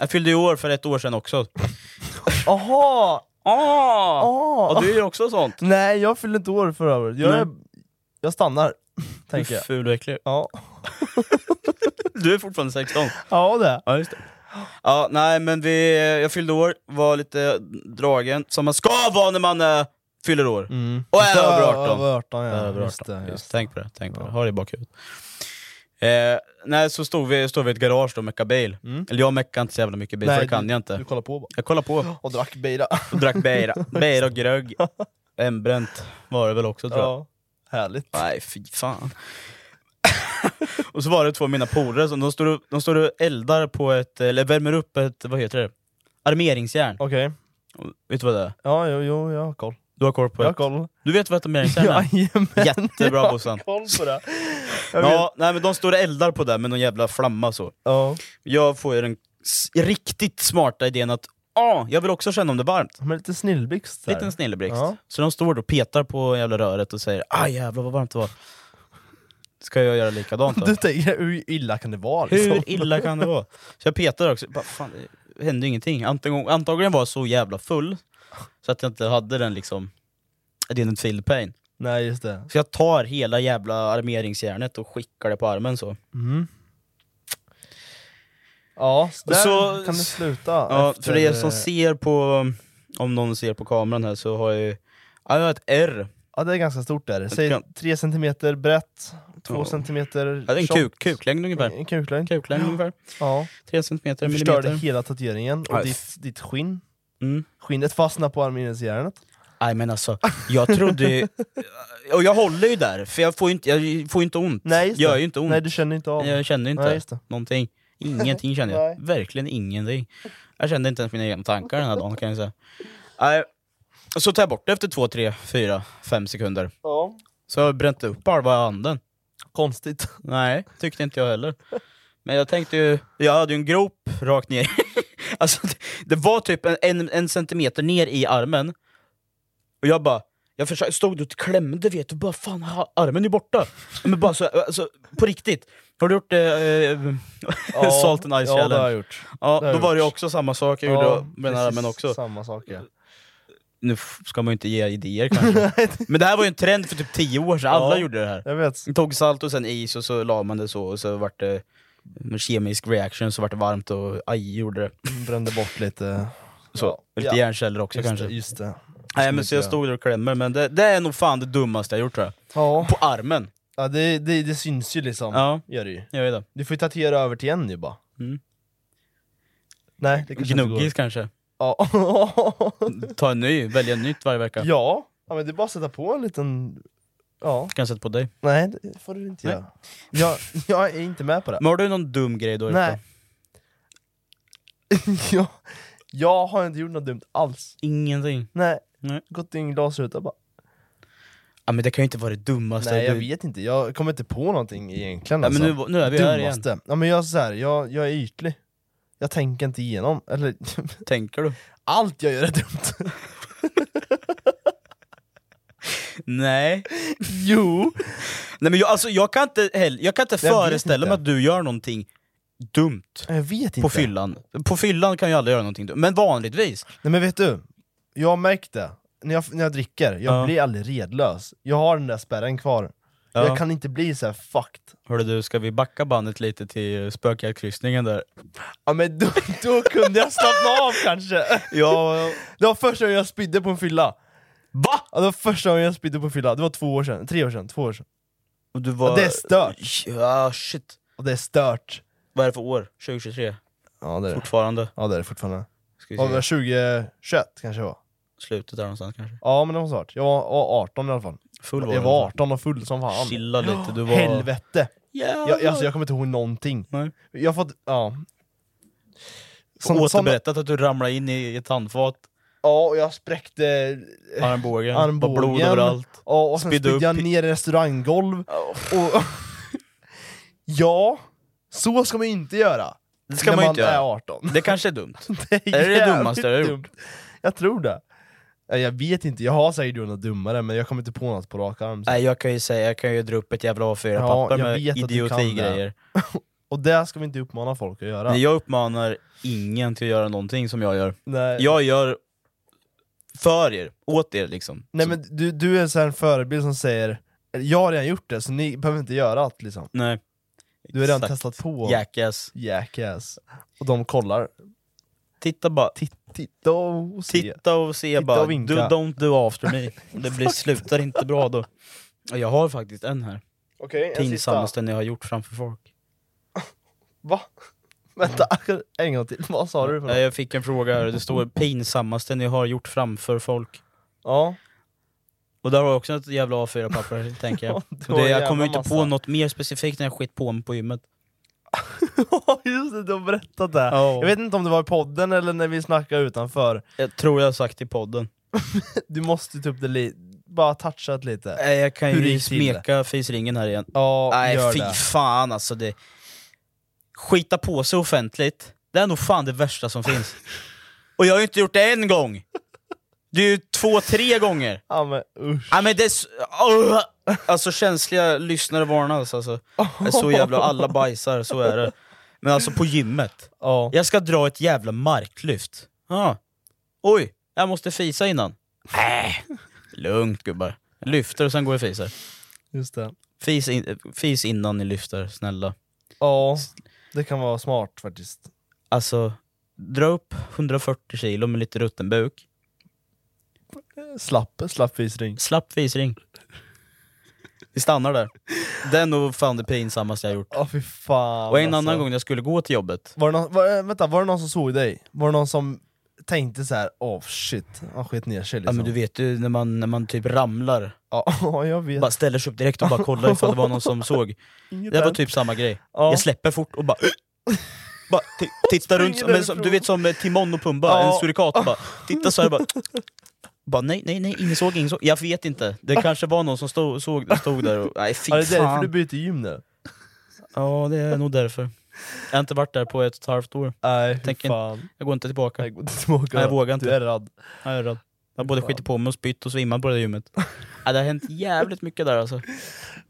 Speaker 2: jag fyllde i år för ett år sedan också.
Speaker 1: Aha!
Speaker 2: Ah!
Speaker 1: Ah!
Speaker 2: Och du gör också sånt?
Speaker 1: Nej, jag fyllde inte år förra året. Jag,
Speaker 2: Nej.
Speaker 1: är, jag stannar, tänker
Speaker 2: Du är
Speaker 1: jag.
Speaker 2: ful och äcklig.
Speaker 1: Ja,
Speaker 2: Du är fortfarande 16.
Speaker 1: ja det.
Speaker 2: Ja, just det. Ja, nej men vi, jag fyllde år, var lite dragen, som man ska vara när man äh, fyller år.
Speaker 1: Mm.
Speaker 2: Och är över 18.
Speaker 1: Över 18, ja.
Speaker 2: Över
Speaker 1: Just
Speaker 2: 18.
Speaker 1: det,
Speaker 2: Just,
Speaker 1: just det.
Speaker 2: Tänk på det, tänk på det. Ha det i bakhuvudet. Eh, nej, så stod vi, stod vi i ett garage då och meckade bil. Eller jag meckade inte så jävla mycket bil, för det kan
Speaker 1: du,
Speaker 2: jag
Speaker 1: Du
Speaker 2: inte.
Speaker 1: kollar på bara.
Speaker 2: Jag kollade på
Speaker 1: Och drack bira.
Speaker 2: och drack beira. beira och grögg. Hembränt var det väl också tror jag.
Speaker 1: Ja. Härligt.
Speaker 2: Nej, fy fan. och så var det två av mina polare som de står, och- de står och eldar på ett, eller värmer upp ett, vad heter det? Armeringsjärn.
Speaker 1: Okej.
Speaker 2: Vet du vad det är?
Speaker 1: Ja, jo, jo, jag har koll.
Speaker 2: Du har koll på
Speaker 1: Jag har
Speaker 2: det?
Speaker 1: koll.
Speaker 2: Du vet vad ett armeringsjärn är?
Speaker 1: Jajamän.
Speaker 2: Jättebra,
Speaker 1: Jag har
Speaker 2: Bossan.
Speaker 1: koll på det. Jag vet.
Speaker 2: Ja, nej men de står och eldar på det med någon jävla flamma så.
Speaker 1: Ja.
Speaker 2: jag får ju den s- riktigt smarta idén att ah, jag vill också känna om det varmt.
Speaker 1: Men lite snillblixt där.
Speaker 2: Liten snilleblixt.
Speaker 1: Ja.
Speaker 2: Så de står då och petar på jävla röret och säger ah jävlar vad varmt det var. Ska jag göra likadant då?
Speaker 1: Du tänker, hur illa kan det vara liksom?
Speaker 2: Hur illa kan det vara? Så jag petar också, bara, fan, det hände ju ingenting. Antagligen, antagligen var jag så jävla full så att jag inte hade den liksom, I didn't feel the pain.
Speaker 1: Nej, just det.
Speaker 2: Så jag tar hela jävla armeringsjärnet och skickar det på armen så.
Speaker 1: Ja, så där
Speaker 2: Så-
Speaker 1: kan det sluta.
Speaker 2: Ja,
Speaker 1: efter- eh,
Speaker 2: för er som ser på, om någon ser på kameran här så har jag ju Ja, jag har ett R.
Speaker 1: Ja det är ganska stort där. Säg
Speaker 2: kan-
Speaker 1: 3 centimeter brett, 2
Speaker 2: Ja.
Speaker 1: centimeter
Speaker 2: Ja, det är en
Speaker 1: tjockt.
Speaker 2: kuk, kuklängd ungefär.
Speaker 1: En kuklängd.
Speaker 2: Kuklängd ungefär.
Speaker 1: Ja.
Speaker 2: Tre centimeter,
Speaker 1: Du förstörde
Speaker 2: millimeter.
Speaker 1: hela tatueringen och
Speaker 2: Aj.
Speaker 1: ditt, ditt skinn.
Speaker 2: Mm.
Speaker 1: Skinnet fastnade på armhinnesjärnet.
Speaker 2: Nej men alltså, jag trodde ju... Och jag håller ju där, för jag får ju inte, jag får ju inte ont.
Speaker 1: Nej just
Speaker 2: Gör
Speaker 1: det.
Speaker 2: ju inte ont.
Speaker 1: Nej du känner inte av
Speaker 2: Jag kände inte
Speaker 1: Nej, just det.
Speaker 2: någonting. Ingenting kände
Speaker 1: Nej.
Speaker 2: jag. Verkligen ingenting. Jag kände inte ens mina egna tankar den här dagen kan jag säga. Nej. Så tar jag bort det efter två, tre, fyra, fem sekunder.
Speaker 1: Ja.
Speaker 2: Så har jag bränt upp halva handen.
Speaker 1: Konstigt.
Speaker 2: Nej, tyckte inte jag heller. Men jag tänkte ju, jag hade ju en grop rakt ner. alltså, det, det var typ en, en, en centimeter ner i armen. Och jag bara, jag försökte, stod och klämde vet du, bara fan ha, armen är borta. Men bara så, alltså, på riktigt. Har du gjort eh, eh, Salt and Ice
Speaker 1: Ja det har jag
Speaker 2: Challenge?
Speaker 1: gjort.
Speaker 2: Ja,
Speaker 1: det har
Speaker 2: då
Speaker 1: jag
Speaker 2: var det ju
Speaker 1: gjort.
Speaker 2: också samma sak jag
Speaker 1: Ja,
Speaker 2: gjorde med den här
Speaker 1: precis
Speaker 2: armen också.
Speaker 1: Samma sak ja.
Speaker 2: Nu f- ska man ju inte ge idéer kanske. Men det här var ju en trend för typ tio år sedan, alla
Speaker 1: Ja.
Speaker 2: gjorde det här.
Speaker 1: Jag vet.
Speaker 2: Man tog salt och sen is och så la man det så och så vart det en kemisk reaction så vart det varmt och aj gjorde det.
Speaker 1: Brände bort lite.
Speaker 2: Så.
Speaker 1: Ja.
Speaker 2: Och Lite
Speaker 1: Ja.
Speaker 2: hjärnceller också
Speaker 1: Just
Speaker 2: kanske.
Speaker 1: det, just det.
Speaker 2: Nej men så jag stod där och klämmer men det, det är nog fan det dummaste jag gjort tror jag.
Speaker 1: Ja,
Speaker 2: På armen.
Speaker 1: ja det, det, det syns ju liksom.
Speaker 2: Ja,
Speaker 1: Gör det ju.
Speaker 2: jag vet det.
Speaker 1: Du får ju tatuera över till en ju bara.
Speaker 2: Mm.
Speaker 1: Nej, det kanske
Speaker 2: Gnuggis
Speaker 1: inte
Speaker 2: kanske.
Speaker 1: går. Ja.
Speaker 2: Ta en ny, välja en nytt varje vecka.
Speaker 1: Ja, ja men det är bara att sätta på en liten... Ja,
Speaker 2: Kan jag sätta på dig.
Speaker 1: nej det får du inte
Speaker 2: Nej. Mm.
Speaker 1: göra. Jag, jag är inte med på det.
Speaker 2: Men har du någon dum grej då?
Speaker 1: Nej. jag, jag har inte gjort något dumt alls.
Speaker 2: Ingenting.
Speaker 1: Nej.
Speaker 2: Nej.
Speaker 1: Gått in i en glasruta bara.
Speaker 2: Ja men det kan ju inte vara det dummaste.
Speaker 1: Nej jag
Speaker 2: Alltså, du...
Speaker 1: vet inte, jag kommer inte på någonting egentligen
Speaker 2: ja, men
Speaker 1: alltså.
Speaker 2: nu, nu är vi här igen.
Speaker 1: Dummaste. Ja men jag är så här, jag, jag är ytlig. Jag tänker inte igenom, eller
Speaker 2: Tänker du?
Speaker 1: allt jag gör är dumt.
Speaker 2: Nej.
Speaker 1: jo!
Speaker 2: Nej men jag, alltså, jag kan inte, heller, jag kan inte
Speaker 1: Jag vet
Speaker 2: föreställa mig
Speaker 1: inte.
Speaker 2: att du gör någonting dumt.
Speaker 1: Jag vet inte.
Speaker 2: På fyllan. På fyllan kan jag aldrig göra någonting. Men vanligtvis.
Speaker 1: Nej men vet du, jag har märkt det. När jag, när jag dricker, jag
Speaker 2: Ja.
Speaker 1: blir aldrig redlös. Jag har den där spärren kvar.
Speaker 2: Ja.
Speaker 1: Jag kan inte bli så här fucked.
Speaker 2: Hörde du, ska vi backa bandet lite till spökjaktkryssningen där?
Speaker 1: Ja men då, då kunde jag slappna av kanske!
Speaker 2: Ja,
Speaker 1: Det var första gången jag spydde på en fylla.
Speaker 2: va?
Speaker 1: Ja, det var första gången jag spydde på en fylla, det var två år sedan, tre år sedan, två år sedan.
Speaker 2: Och du var...
Speaker 1: Ja, det är stört.
Speaker 2: Ja, shit.
Speaker 1: Och det är stört.
Speaker 2: Vad är det för år? 2023?
Speaker 1: Ja det är det,
Speaker 2: Fortfarande?
Speaker 1: ja, det, är det fortfarande.
Speaker 2: Ska
Speaker 1: Ja, det var
Speaker 2: vi se.
Speaker 1: 2021 kanske det var.
Speaker 2: Slutet där någonstans kanske.
Speaker 1: Ja men det var snart. Jag var var 18 i alla fall.
Speaker 2: Full var
Speaker 1: Jag
Speaker 2: du.
Speaker 1: var 18 och full som fan.
Speaker 2: Chilla lite, du var...
Speaker 1: Helvete!
Speaker 2: Yeah.
Speaker 1: Jag, alltså, jag kommer inte ihåg någonting.
Speaker 2: Nej.
Speaker 1: Jag har fått, ja. Sån- sån-
Speaker 2: Återberättat att du ramlade in i ett handfat,
Speaker 1: ja, och jag spräckte eh,
Speaker 2: armbågen,
Speaker 1: armbågen.
Speaker 2: var blod överallt.
Speaker 1: Ja, och sen
Speaker 2: Spydde
Speaker 1: spydde jag
Speaker 2: upp.
Speaker 1: ner i restauranggolv. Och, ja, så ska man inte göra.
Speaker 2: Det ska
Speaker 1: när
Speaker 2: man ju inte
Speaker 1: är
Speaker 2: göra.
Speaker 1: 18.
Speaker 2: Det kanske är dumt.
Speaker 1: Det
Speaker 2: Är det det
Speaker 1: jävligt
Speaker 2: dummaste du har gjort?
Speaker 1: dumt. Jag tror det. Nej, Jag vet inte, jag har säkert gjort något dummare men jag kommer inte på något på rak arm.
Speaker 2: Nej jag kan ju säga, jag kan ju dra upp ett jävla A4-papper
Speaker 1: Ja, jag
Speaker 2: med
Speaker 1: vet att du kan det.
Speaker 2: idiotigrejer.
Speaker 1: Och det ska vi inte uppmana folk att göra.
Speaker 2: Nej, jag uppmanar ingen till att göra någonting som jag gör.
Speaker 1: Nej.
Speaker 2: Jag gör för er, åt er liksom.
Speaker 1: Nej
Speaker 2: Så-
Speaker 1: men du, du är så här en förebild som säger Jag har redan gjort det, så ni behöver inte göra allt liksom
Speaker 2: nej.
Speaker 1: Du har redan
Speaker 2: Exakt.
Speaker 1: testat på
Speaker 2: Jackass.
Speaker 1: Jackass Och de kollar,
Speaker 2: Titta bara.
Speaker 1: Titt- titta och se
Speaker 2: Titta och se
Speaker 1: Titta
Speaker 2: bara.
Speaker 1: och vinka.
Speaker 2: Do, don't do after me. Det blir, slutar inte bra då. Och Jag har faktiskt en här.
Speaker 1: Okej, en sista
Speaker 2: Pinsammaste jag har gjort framför folk.
Speaker 1: Va? Vänta, en gång till, vad sa du? För
Speaker 2: Nej,
Speaker 1: något?
Speaker 2: Jag fick en fråga här, det står pinsammaste jag har gjort framför folk.
Speaker 1: Ja,
Speaker 2: Och där har jag också ett jävla A4-papper tänker jag.
Speaker 1: Ja,
Speaker 2: Och
Speaker 1: det var
Speaker 2: det, jag
Speaker 1: jävla
Speaker 2: kommer ju inte på
Speaker 1: massa.
Speaker 2: något mer specifikt när jag skit på mig på gymmet.
Speaker 1: just det, du har berättat det!
Speaker 2: Ja.
Speaker 1: Jag vet inte om det var i podden eller när vi snackade utanför
Speaker 2: Jag tror jag har sagt i podden.
Speaker 1: Du måste ta upp det lite, bara touchat lite
Speaker 2: Nej, jag kan
Speaker 1: Hur det
Speaker 2: ju
Speaker 1: gick till.
Speaker 2: smeka fisringen här igen.
Speaker 1: Ja,
Speaker 2: Eh, Nej
Speaker 1: gör
Speaker 2: fy
Speaker 1: det
Speaker 2: fan alltså. Det... Skita på sig offentligt, det är nog fan det värsta som finns. Och jag har ju inte gjort det en gång! Det är ju två, tre gånger.
Speaker 1: Ja men usch
Speaker 2: Ja, men det är så... Åh! Alltså känsliga lyssnare varnas alltså. Det är så jävla, alla bajsar, så är det. Men alltså på gymmet,
Speaker 1: Ja,
Speaker 2: jag ska dra ett jävla marklyft. Ja. Oj, jag måste fisa innan. Äh. Lugnt gubbar. Jag lyfter och sen går jag och fisar.
Speaker 1: just det
Speaker 2: Fis, in, fis innan ni lyfter, snälla.
Speaker 1: Ja, det kan vara smart faktiskt
Speaker 2: Alltså, dra upp 140 kilo med lite rutten buk.
Speaker 1: Slapp, slapp visring.
Speaker 2: Slapp visring. Vi stannar där. Det är nog fan det pinsammaste jag gjort.
Speaker 1: Ja fy fan
Speaker 2: Och en
Speaker 1: alltså.
Speaker 2: annan gång när jag skulle gå till jobbet,
Speaker 1: Var det, någon, var, eh, vänta, var det någon som såg dig? Var det någon som tänkte så här, åh shit, han sket ner sig
Speaker 2: ja,
Speaker 1: liksom?
Speaker 2: men du vet ju när man, när man typ ramlar,
Speaker 1: Ja, jag vet.
Speaker 2: bara ställer sig upp direkt och bara kollar ifall det var någon som såg.
Speaker 1: Inget
Speaker 2: Det var
Speaker 1: där.
Speaker 2: typ samma grej.
Speaker 1: Ja.
Speaker 2: Jag släpper fort och bara, bara ti- tittar runt,
Speaker 1: Springer
Speaker 2: men som, du vet som eh, Timon och Pumba,
Speaker 1: Ja.
Speaker 2: en surikat. Bara, titta så här, bara, bara nej, nej, nej, ingen såg, ingen såg. Jag vet inte, det kanske var någon som stod, såg, stod där och, nej fy
Speaker 1: Ja, det är därför
Speaker 2: fan.
Speaker 1: du byter gym nu?
Speaker 2: Ja det är nog därför. Jag har inte varit där på ett och ett halvt år.
Speaker 1: Nej, fy
Speaker 2: Tänker-
Speaker 1: fan.
Speaker 2: Jag går inte tillbaka.
Speaker 1: Jag går inte tillbaka.
Speaker 2: Nej, jag vågar inte.
Speaker 1: Du är rädd.
Speaker 2: Ja, Jag är rädd. Jag har både skitit på mig och spytt och svimmat på det där gymmet. Ja, det har hänt jävligt mycket där alltså.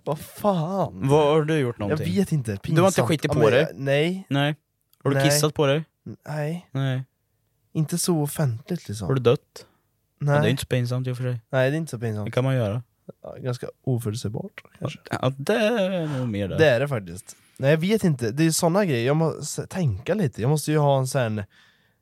Speaker 1: Vad fan?
Speaker 2: Vad har du gjort
Speaker 1: Jag
Speaker 2: någonting?
Speaker 1: vet inte, pinsamt.
Speaker 2: Du har inte skitit
Speaker 1: Ja,
Speaker 2: på
Speaker 1: men
Speaker 2: dig?
Speaker 1: jag- Nej,
Speaker 2: Nej. Har du
Speaker 1: Nej.
Speaker 2: kissat på dig?
Speaker 1: nej.
Speaker 2: Nej.
Speaker 1: Inte så offentligt liksom.
Speaker 2: Har du dött?
Speaker 1: nej.
Speaker 2: Nej. Det är inte så pinsamt i och för sig.
Speaker 1: nej, det är inte så
Speaker 2: Det
Speaker 1: pinsamt.
Speaker 2: kan man göra.
Speaker 1: Ja, Ganska oförutsägbart kanske.
Speaker 2: Ja, det är nog mer där.
Speaker 1: Det är det faktiskt. Nej jag vet inte, det är såna grejer, jag måste tänka lite, jag måste ju ha en sån...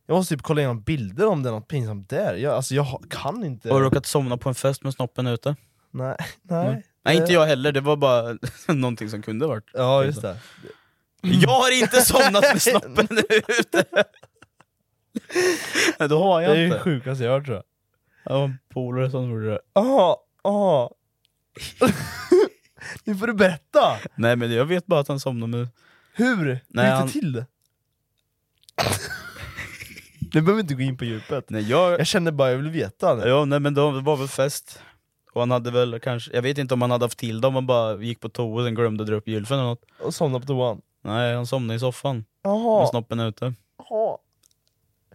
Speaker 1: Jag måste typ kolla igenom bilder om det är något pinsamt där, jag, alltså jag ha- kan inte...
Speaker 2: Har du Mm. råkat somna på en fest med snoppen ute?
Speaker 1: Nej, nej.
Speaker 2: Nej inte jag heller, det var bara någonting som kunde ha varit.
Speaker 1: Ja just det. Mm.
Speaker 2: Jag har inte somnat med snoppen ute! Nej, då har
Speaker 1: Det är
Speaker 2: jag
Speaker 1: ju det
Speaker 2: inte.
Speaker 1: sjukaste jag har hört tror jag.
Speaker 2: Jag var en polare som gjorde det.
Speaker 1: Aha, aha. nu får du berätta!
Speaker 2: Nej men jag vet bara att han somnade med...
Speaker 1: Hur? Hur
Speaker 2: Nej,
Speaker 1: gick
Speaker 2: han-
Speaker 1: det till? du behöver inte gå in på djupet.
Speaker 2: Nej jag...
Speaker 1: Jag känner bara, jag vill veta. nu.
Speaker 2: Ja, nej men det var väl fest. Och han hade väl kanske, jag vet inte om han hade haft till det om han bara gick på toa och sen glömde dra upp gylfen eller något.
Speaker 1: Och somna på toan.
Speaker 2: Nej, han somnade i soffan med
Speaker 1: Jaha.
Speaker 2: snoppen ute.
Speaker 1: Ja.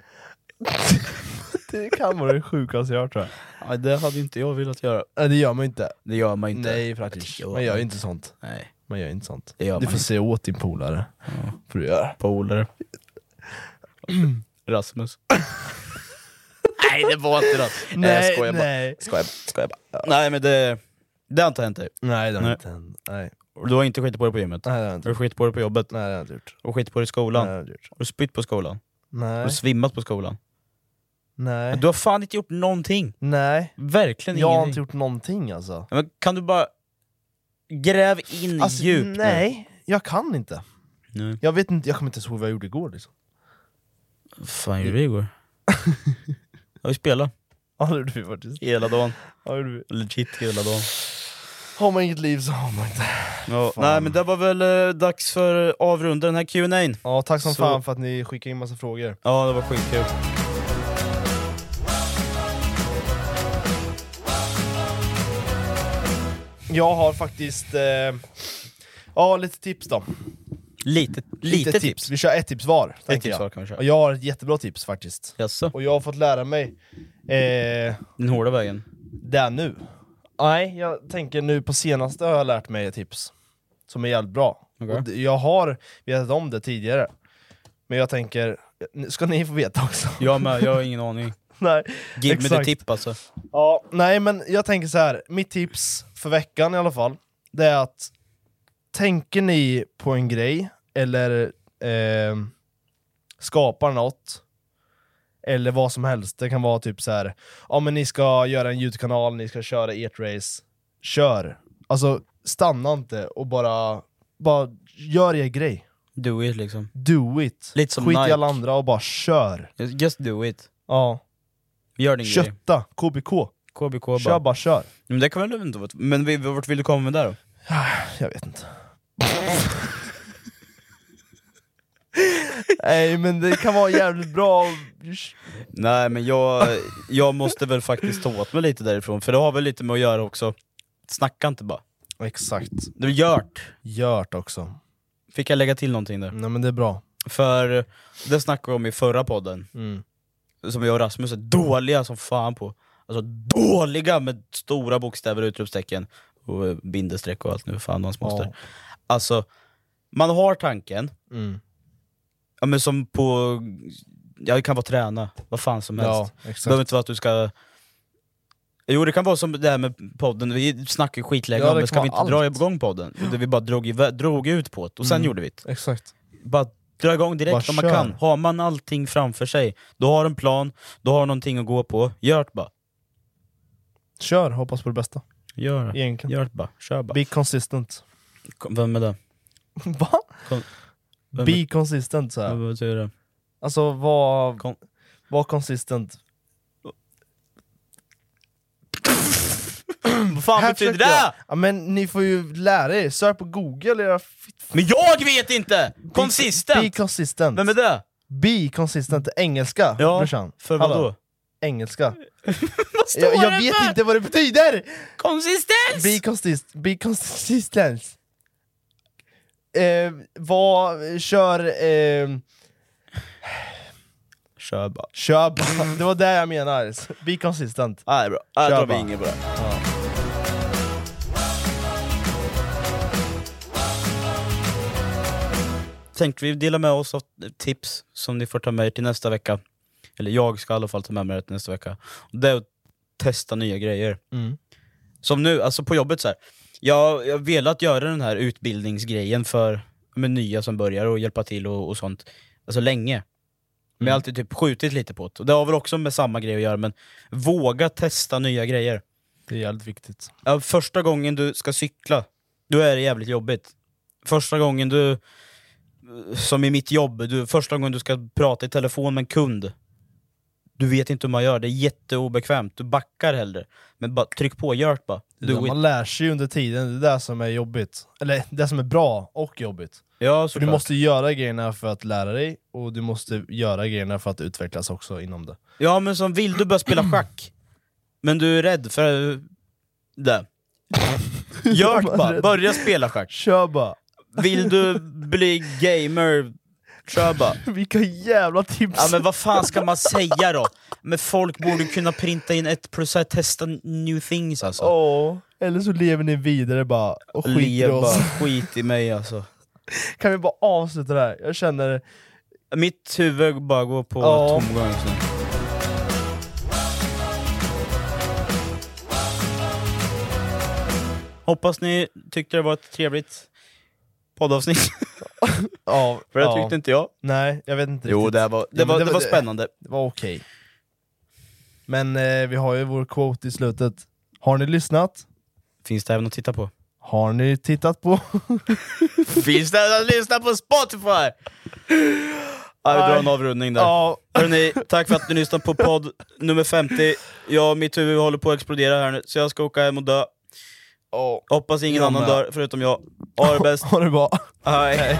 Speaker 1: det kan vara det sjukaste jag har hört tror jag.
Speaker 2: Nej, det hade inte jag velat göra.
Speaker 1: Nej det gör man ju inte.
Speaker 2: Det gör man inte.
Speaker 1: Nej
Speaker 2: Det
Speaker 1: faktiskt.
Speaker 2: gör
Speaker 1: Man gör
Speaker 2: man
Speaker 1: ju inte sånt.
Speaker 2: Nej,
Speaker 1: Man gör ju inte sånt.
Speaker 2: det gör
Speaker 1: Du
Speaker 2: man
Speaker 1: får
Speaker 2: inte.
Speaker 1: se åt din polare. Får du göra. Äh,
Speaker 2: Polare. Rasmus. nej, det var inte Rasmus. Nej, jag skojar bara.
Speaker 1: nej.
Speaker 2: Skojar, skojar bara. Nej men det, det har inte hänt dig.
Speaker 1: Nej det har
Speaker 2: Nej.
Speaker 1: inte hänt. Nej.
Speaker 2: Du har inte skitit på dig på gymmet.
Speaker 1: Nej det har inte
Speaker 2: Du har skitit på dig på jobbet.
Speaker 1: Nej det har jag inte gjort.
Speaker 2: Och skitit på dig i
Speaker 1: Nej
Speaker 2: skolan.
Speaker 1: det har jag inte gjort.
Speaker 2: Och spytt på skolan.
Speaker 1: Nej.
Speaker 2: Och svimmat på skolan.
Speaker 1: Nej.
Speaker 2: Du har fan inte gjort någonting.
Speaker 1: Nej.
Speaker 2: Verkligen
Speaker 1: Jag har
Speaker 2: ingenting.
Speaker 1: inte gjort någonting alltså.
Speaker 2: Men kan du bara gräv in
Speaker 1: alltså
Speaker 2: djupt
Speaker 1: nej, jag kan inte.
Speaker 2: nu? Nej.
Speaker 1: Jag vet inte, jag kommer inte ens ihåg vad jag gjorde igår liksom.
Speaker 2: fan gjorde vi igår? ja, vi spelade
Speaker 1: Ja det gjorde vi faktiskt.
Speaker 2: hela dagen.
Speaker 1: Ja, det gjorde vi.
Speaker 2: Legit hela dagen.
Speaker 1: Har man inget liv så har man inte.
Speaker 2: Ja,
Speaker 1: Fan.
Speaker 2: nej men det var väl eh, dags för att avrunda den här Q&A
Speaker 1: Ja tack som
Speaker 2: Så-
Speaker 1: fan för att ni skickade in massa frågor.
Speaker 2: Ja det var skitkul.
Speaker 1: Jag har faktiskt, eh, ja lite tips då.
Speaker 2: Lite, lite, tips.
Speaker 1: Vi kör ett tips var.
Speaker 2: Ett
Speaker 1: tänker
Speaker 2: tips
Speaker 1: jag.
Speaker 2: var kan vi köra.
Speaker 1: Och jag har ett jättebra tips faktiskt.
Speaker 2: Jaså?
Speaker 1: Och jag har fått lära mig eh,
Speaker 2: Den hårda vägen.
Speaker 1: det nu. Nej, jag tänker nu på senaste har jag lärt mig ett tips. Som är jävligt bra.
Speaker 2: Okej.
Speaker 1: Och d- Jag har vetat om det tidigare. Men jag tänker, nu ska ni få veta också?
Speaker 2: Jag med, jag har ingen aning.
Speaker 1: nej,
Speaker 2: Give me the
Speaker 1: exakt.
Speaker 2: tip alltså.
Speaker 1: Ja, nej men jag tänker så här. mitt tips för veckan i alla fall, det är att tänker ni på en grej, eller eh, skapar något, eller vad som helst, det kan vara typ så här. ja men ni ska göra en ljudkanal, ni ska köra ert race, kör! Alltså stanna inte och bara, bara gör er grej.
Speaker 2: Do it liksom.
Speaker 1: Do it!
Speaker 2: Lite som
Speaker 1: Skit i
Speaker 2: Nike.
Speaker 1: alla andra och bara kör!
Speaker 2: Just do it.
Speaker 1: Ja,
Speaker 2: Gör din grej.
Speaker 1: kötta! KBK!
Speaker 2: KBK bara.
Speaker 1: Kör bara kör!
Speaker 2: Men det kan väl inte vara... Men vi- vart vill du komma med det då?
Speaker 1: Jag vet inte. Nej men det kan vara jävligt bra
Speaker 2: Nej men jag, jag måste väl faktiskt ta åt mig lite därifrån, för det har väl lite med att göra också. Snacka inte bara.
Speaker 1: Exakt,
Speaker 2: Det är gjort.
Speaker 1: Gört också.
Speaker 2: Fick jag lägga till någonting där?
Speaker 1: Nej men det är bra.
Speaker 2: För det snackade vi om i förra podden,
Speaker 1: Mm.
Speaker 2: som jag och Rasmus är dåliga som fan på. Alltså dåliga med stora bokstäver och utropstecken och eh, bindestreck och allt nu, fan hans moster.
Speaker 1: Ja.
Speaker 2: Alltså, man har tanken,
Speaker 1: Mm.
Speaker 2: ja, men som på... Ja, det kan vara träna, vad fan som helst.
Speaker 1: Ja,
Speaker 2: Det behöver
Speaker 1: exakt.
Speaker 2: inte vara att du ska... Jo det kan vara som det här med podden, vi snackade ju skitlänge
Speaker 1: Ja,
Speaker 2: om
Speaker 1: det
Speaker 2: det,
Speaker 1: kan
Speaker 2: ska vi inte
Speaker 1: vara
Speaker 2: dra
Speaker 1: allt.
Speaker 2: igång podden? Det vi bara drog, iväg- drog ut på det, och sen
Speaker 1: Mm.
Speaker 2: gjorde vi det.
Speaker 1: Exakt.
Speaker 2: Bara dra igång direkt
Speaker 1: Bara
Speaker 2: om man
Speaker 1: kör.
Speaker 2: kan. Har man allting framför sig, då har en plan, då har någonting att gå på, gör det bara.
Speaker 1: Kör, hoppas på det bästa.
Speaker 2: Gör det.
Speaker 1: Egentligen.
Speaker 2: Gör det bara. Kör bara.
Speaker 1: Be consistent.
Speaker 2: Kom- Vem är det?
Speaker 1: Va?
Speaker 2: Kon- Vem
Speaker 1: Be consistent
Speaker 2: Vad
Speaker 1: såhär.
Speaker 2: betyder det?
Speaker 1: Alltså var,
Speaker 2: Kon-
Speaker 1: var consistent.
Speaker 2: Vad fan
Speaker 1: Här
Speaker 2: betyder
Speaker 1: försökte jag.
Speaker 2: det?
Speaker 1: Ja, men ni får ju lära er, sök på google era fitt...
Speaker 2: Men jag vet inte!
Speaker 1: Be
Speaker 2: Consistent!
Speaker 1: consistent.
Speaker 2: Vem är det?
Speaker 1: Be consistent, engelska
Speaker 2: Ja,
Speaker 1: brorsan.
Speaker 2: För vad
Speaker 1: Hallå,
Speaker 2: då?
Speaker 1: Engelska.
Speaker 2: Vad står
Speaker 1: Jag, jag
Speaker 2: det
Speaker 1: vet
Speaker 2: för?
Speaker 1: inte vad det betyder!
Speaker 2: Konsistens!
Speaker 1: Be consist, be consistent. Eh, vad, kör, eh,
Speaker 2: Kör bara.
Speaker 1: kör bara. Det var det jag menar. Be consistent.
Speaker 2: Nej bra, jag
Speaker 1: Kör
Speaker 2: tror
Speaker 1: bara.
Speaker 2: vi inget bra. Tänkte vi dela med oss av tips som ni får ta med er till nästa vecka. Eller jag ska i alla fall ta med mig det till nästa vecka. Och Det är att testa nya grejer.
Speaker 1: Mm.
Speaker 2: Som nu, alltså på jobbet så här. Jag jag har velat göra den här utbildningsgrejen för med nya som börjar och hjälpa till och, och sånt. Alltså länge. Men
Speaker 1: Mm.
Speaker 2: jag har alltid typ skjutit lite på det. Och det har väl också med samma grej att göra, men våga testa nya grejer.
Speaker 1: Det är jävligt viktigt.
Speaker 2: Ja, första gången du ska cykla, då är det jävligt jobbigt. Första gången du, som i mitt jobb, du, första gången du ska prata i telefon med en kund, du vet inte hur man gör, det är jätteobekvämt, du backar hellre. Men bara tryck på, gör det bara.
Speaker 1: Det där
Speaker 2: Do it.
Speaker 1: man lär sig ju under tiden, det är det som är jobbigt. Eller det som är bra och jobbigt.
Speaker 2: Ja,
Speaker 1: För du
Speaker 2: såklart.
Speaker 1: måste göra grejerna för att lära dig, och du måste göra grejerna för att utvecklas också inom det.
Speaker 2: ja men som vill du börja spela schack, men du är rädd för eh, det. Gör det bara, börja spela schack.
Speaker 1: Kör bara!
Speaker 2: Vill du bli gamer, kör bara.
Speaker 1: Vilka jävla tips!
Speaker 2: Ja men vad fan ska man säga då? Men folk borde kunna printa in ett plus här, testa new things alltså.
Speaker 1: Åh, eller så lever ni vidare bara och skiter i
Speaker 2: Lev bara,
Speaker 1: oss.
Speaker 2: skit i mig alltså.
Speaker 1: Kan vi bara avsluta det här? Jag känner...
Speaker 2: Mitt huvud bara går på
Speaker 1: Ja.
Speaker 2: tomgång just nu. Hoppas ni tyckte det var ett trevligt poddavsnitt,
Speaker 1: Ja,
Speaker 2: för det
Speaker 1: ja.
Speaker 2: tyckte inte jag.
Speaker 1: Nej, jag vet inte
Speaker 2: Jo,
Speaker 1: riktigt.
Speaker 2: det var,
Speaker 1: Ja,
Speaker 2: det
Speaker 1: men
Speaker 2: var, det var spännande.
Speaker 1: Det var okej. Men eh, vi har ju vår quote i slutet. Har ni lyssnat?
Speaker 2: Finns det även att titta på?
Speaker 1: Har ni tittat på?
Speaker 2: Finns det även att lyssna på Spotify? Ja, vi drar en avrundning där.
Speaker 1: ja,
Speaker 2: Hörrni, tack för att ni lyssnade på podd nummer 50. Jag, mitt huvud håller på att explodera här nu, så jag ska åka hem och dö. Hoppas ingen
Speaker 1: Jag
Speaker 2: annan
Speaker 1: med.
Speaker 2: dör, förutom jag. Ha det bäst.
Speaker 1: har det bra.
Speaker 2: Hej.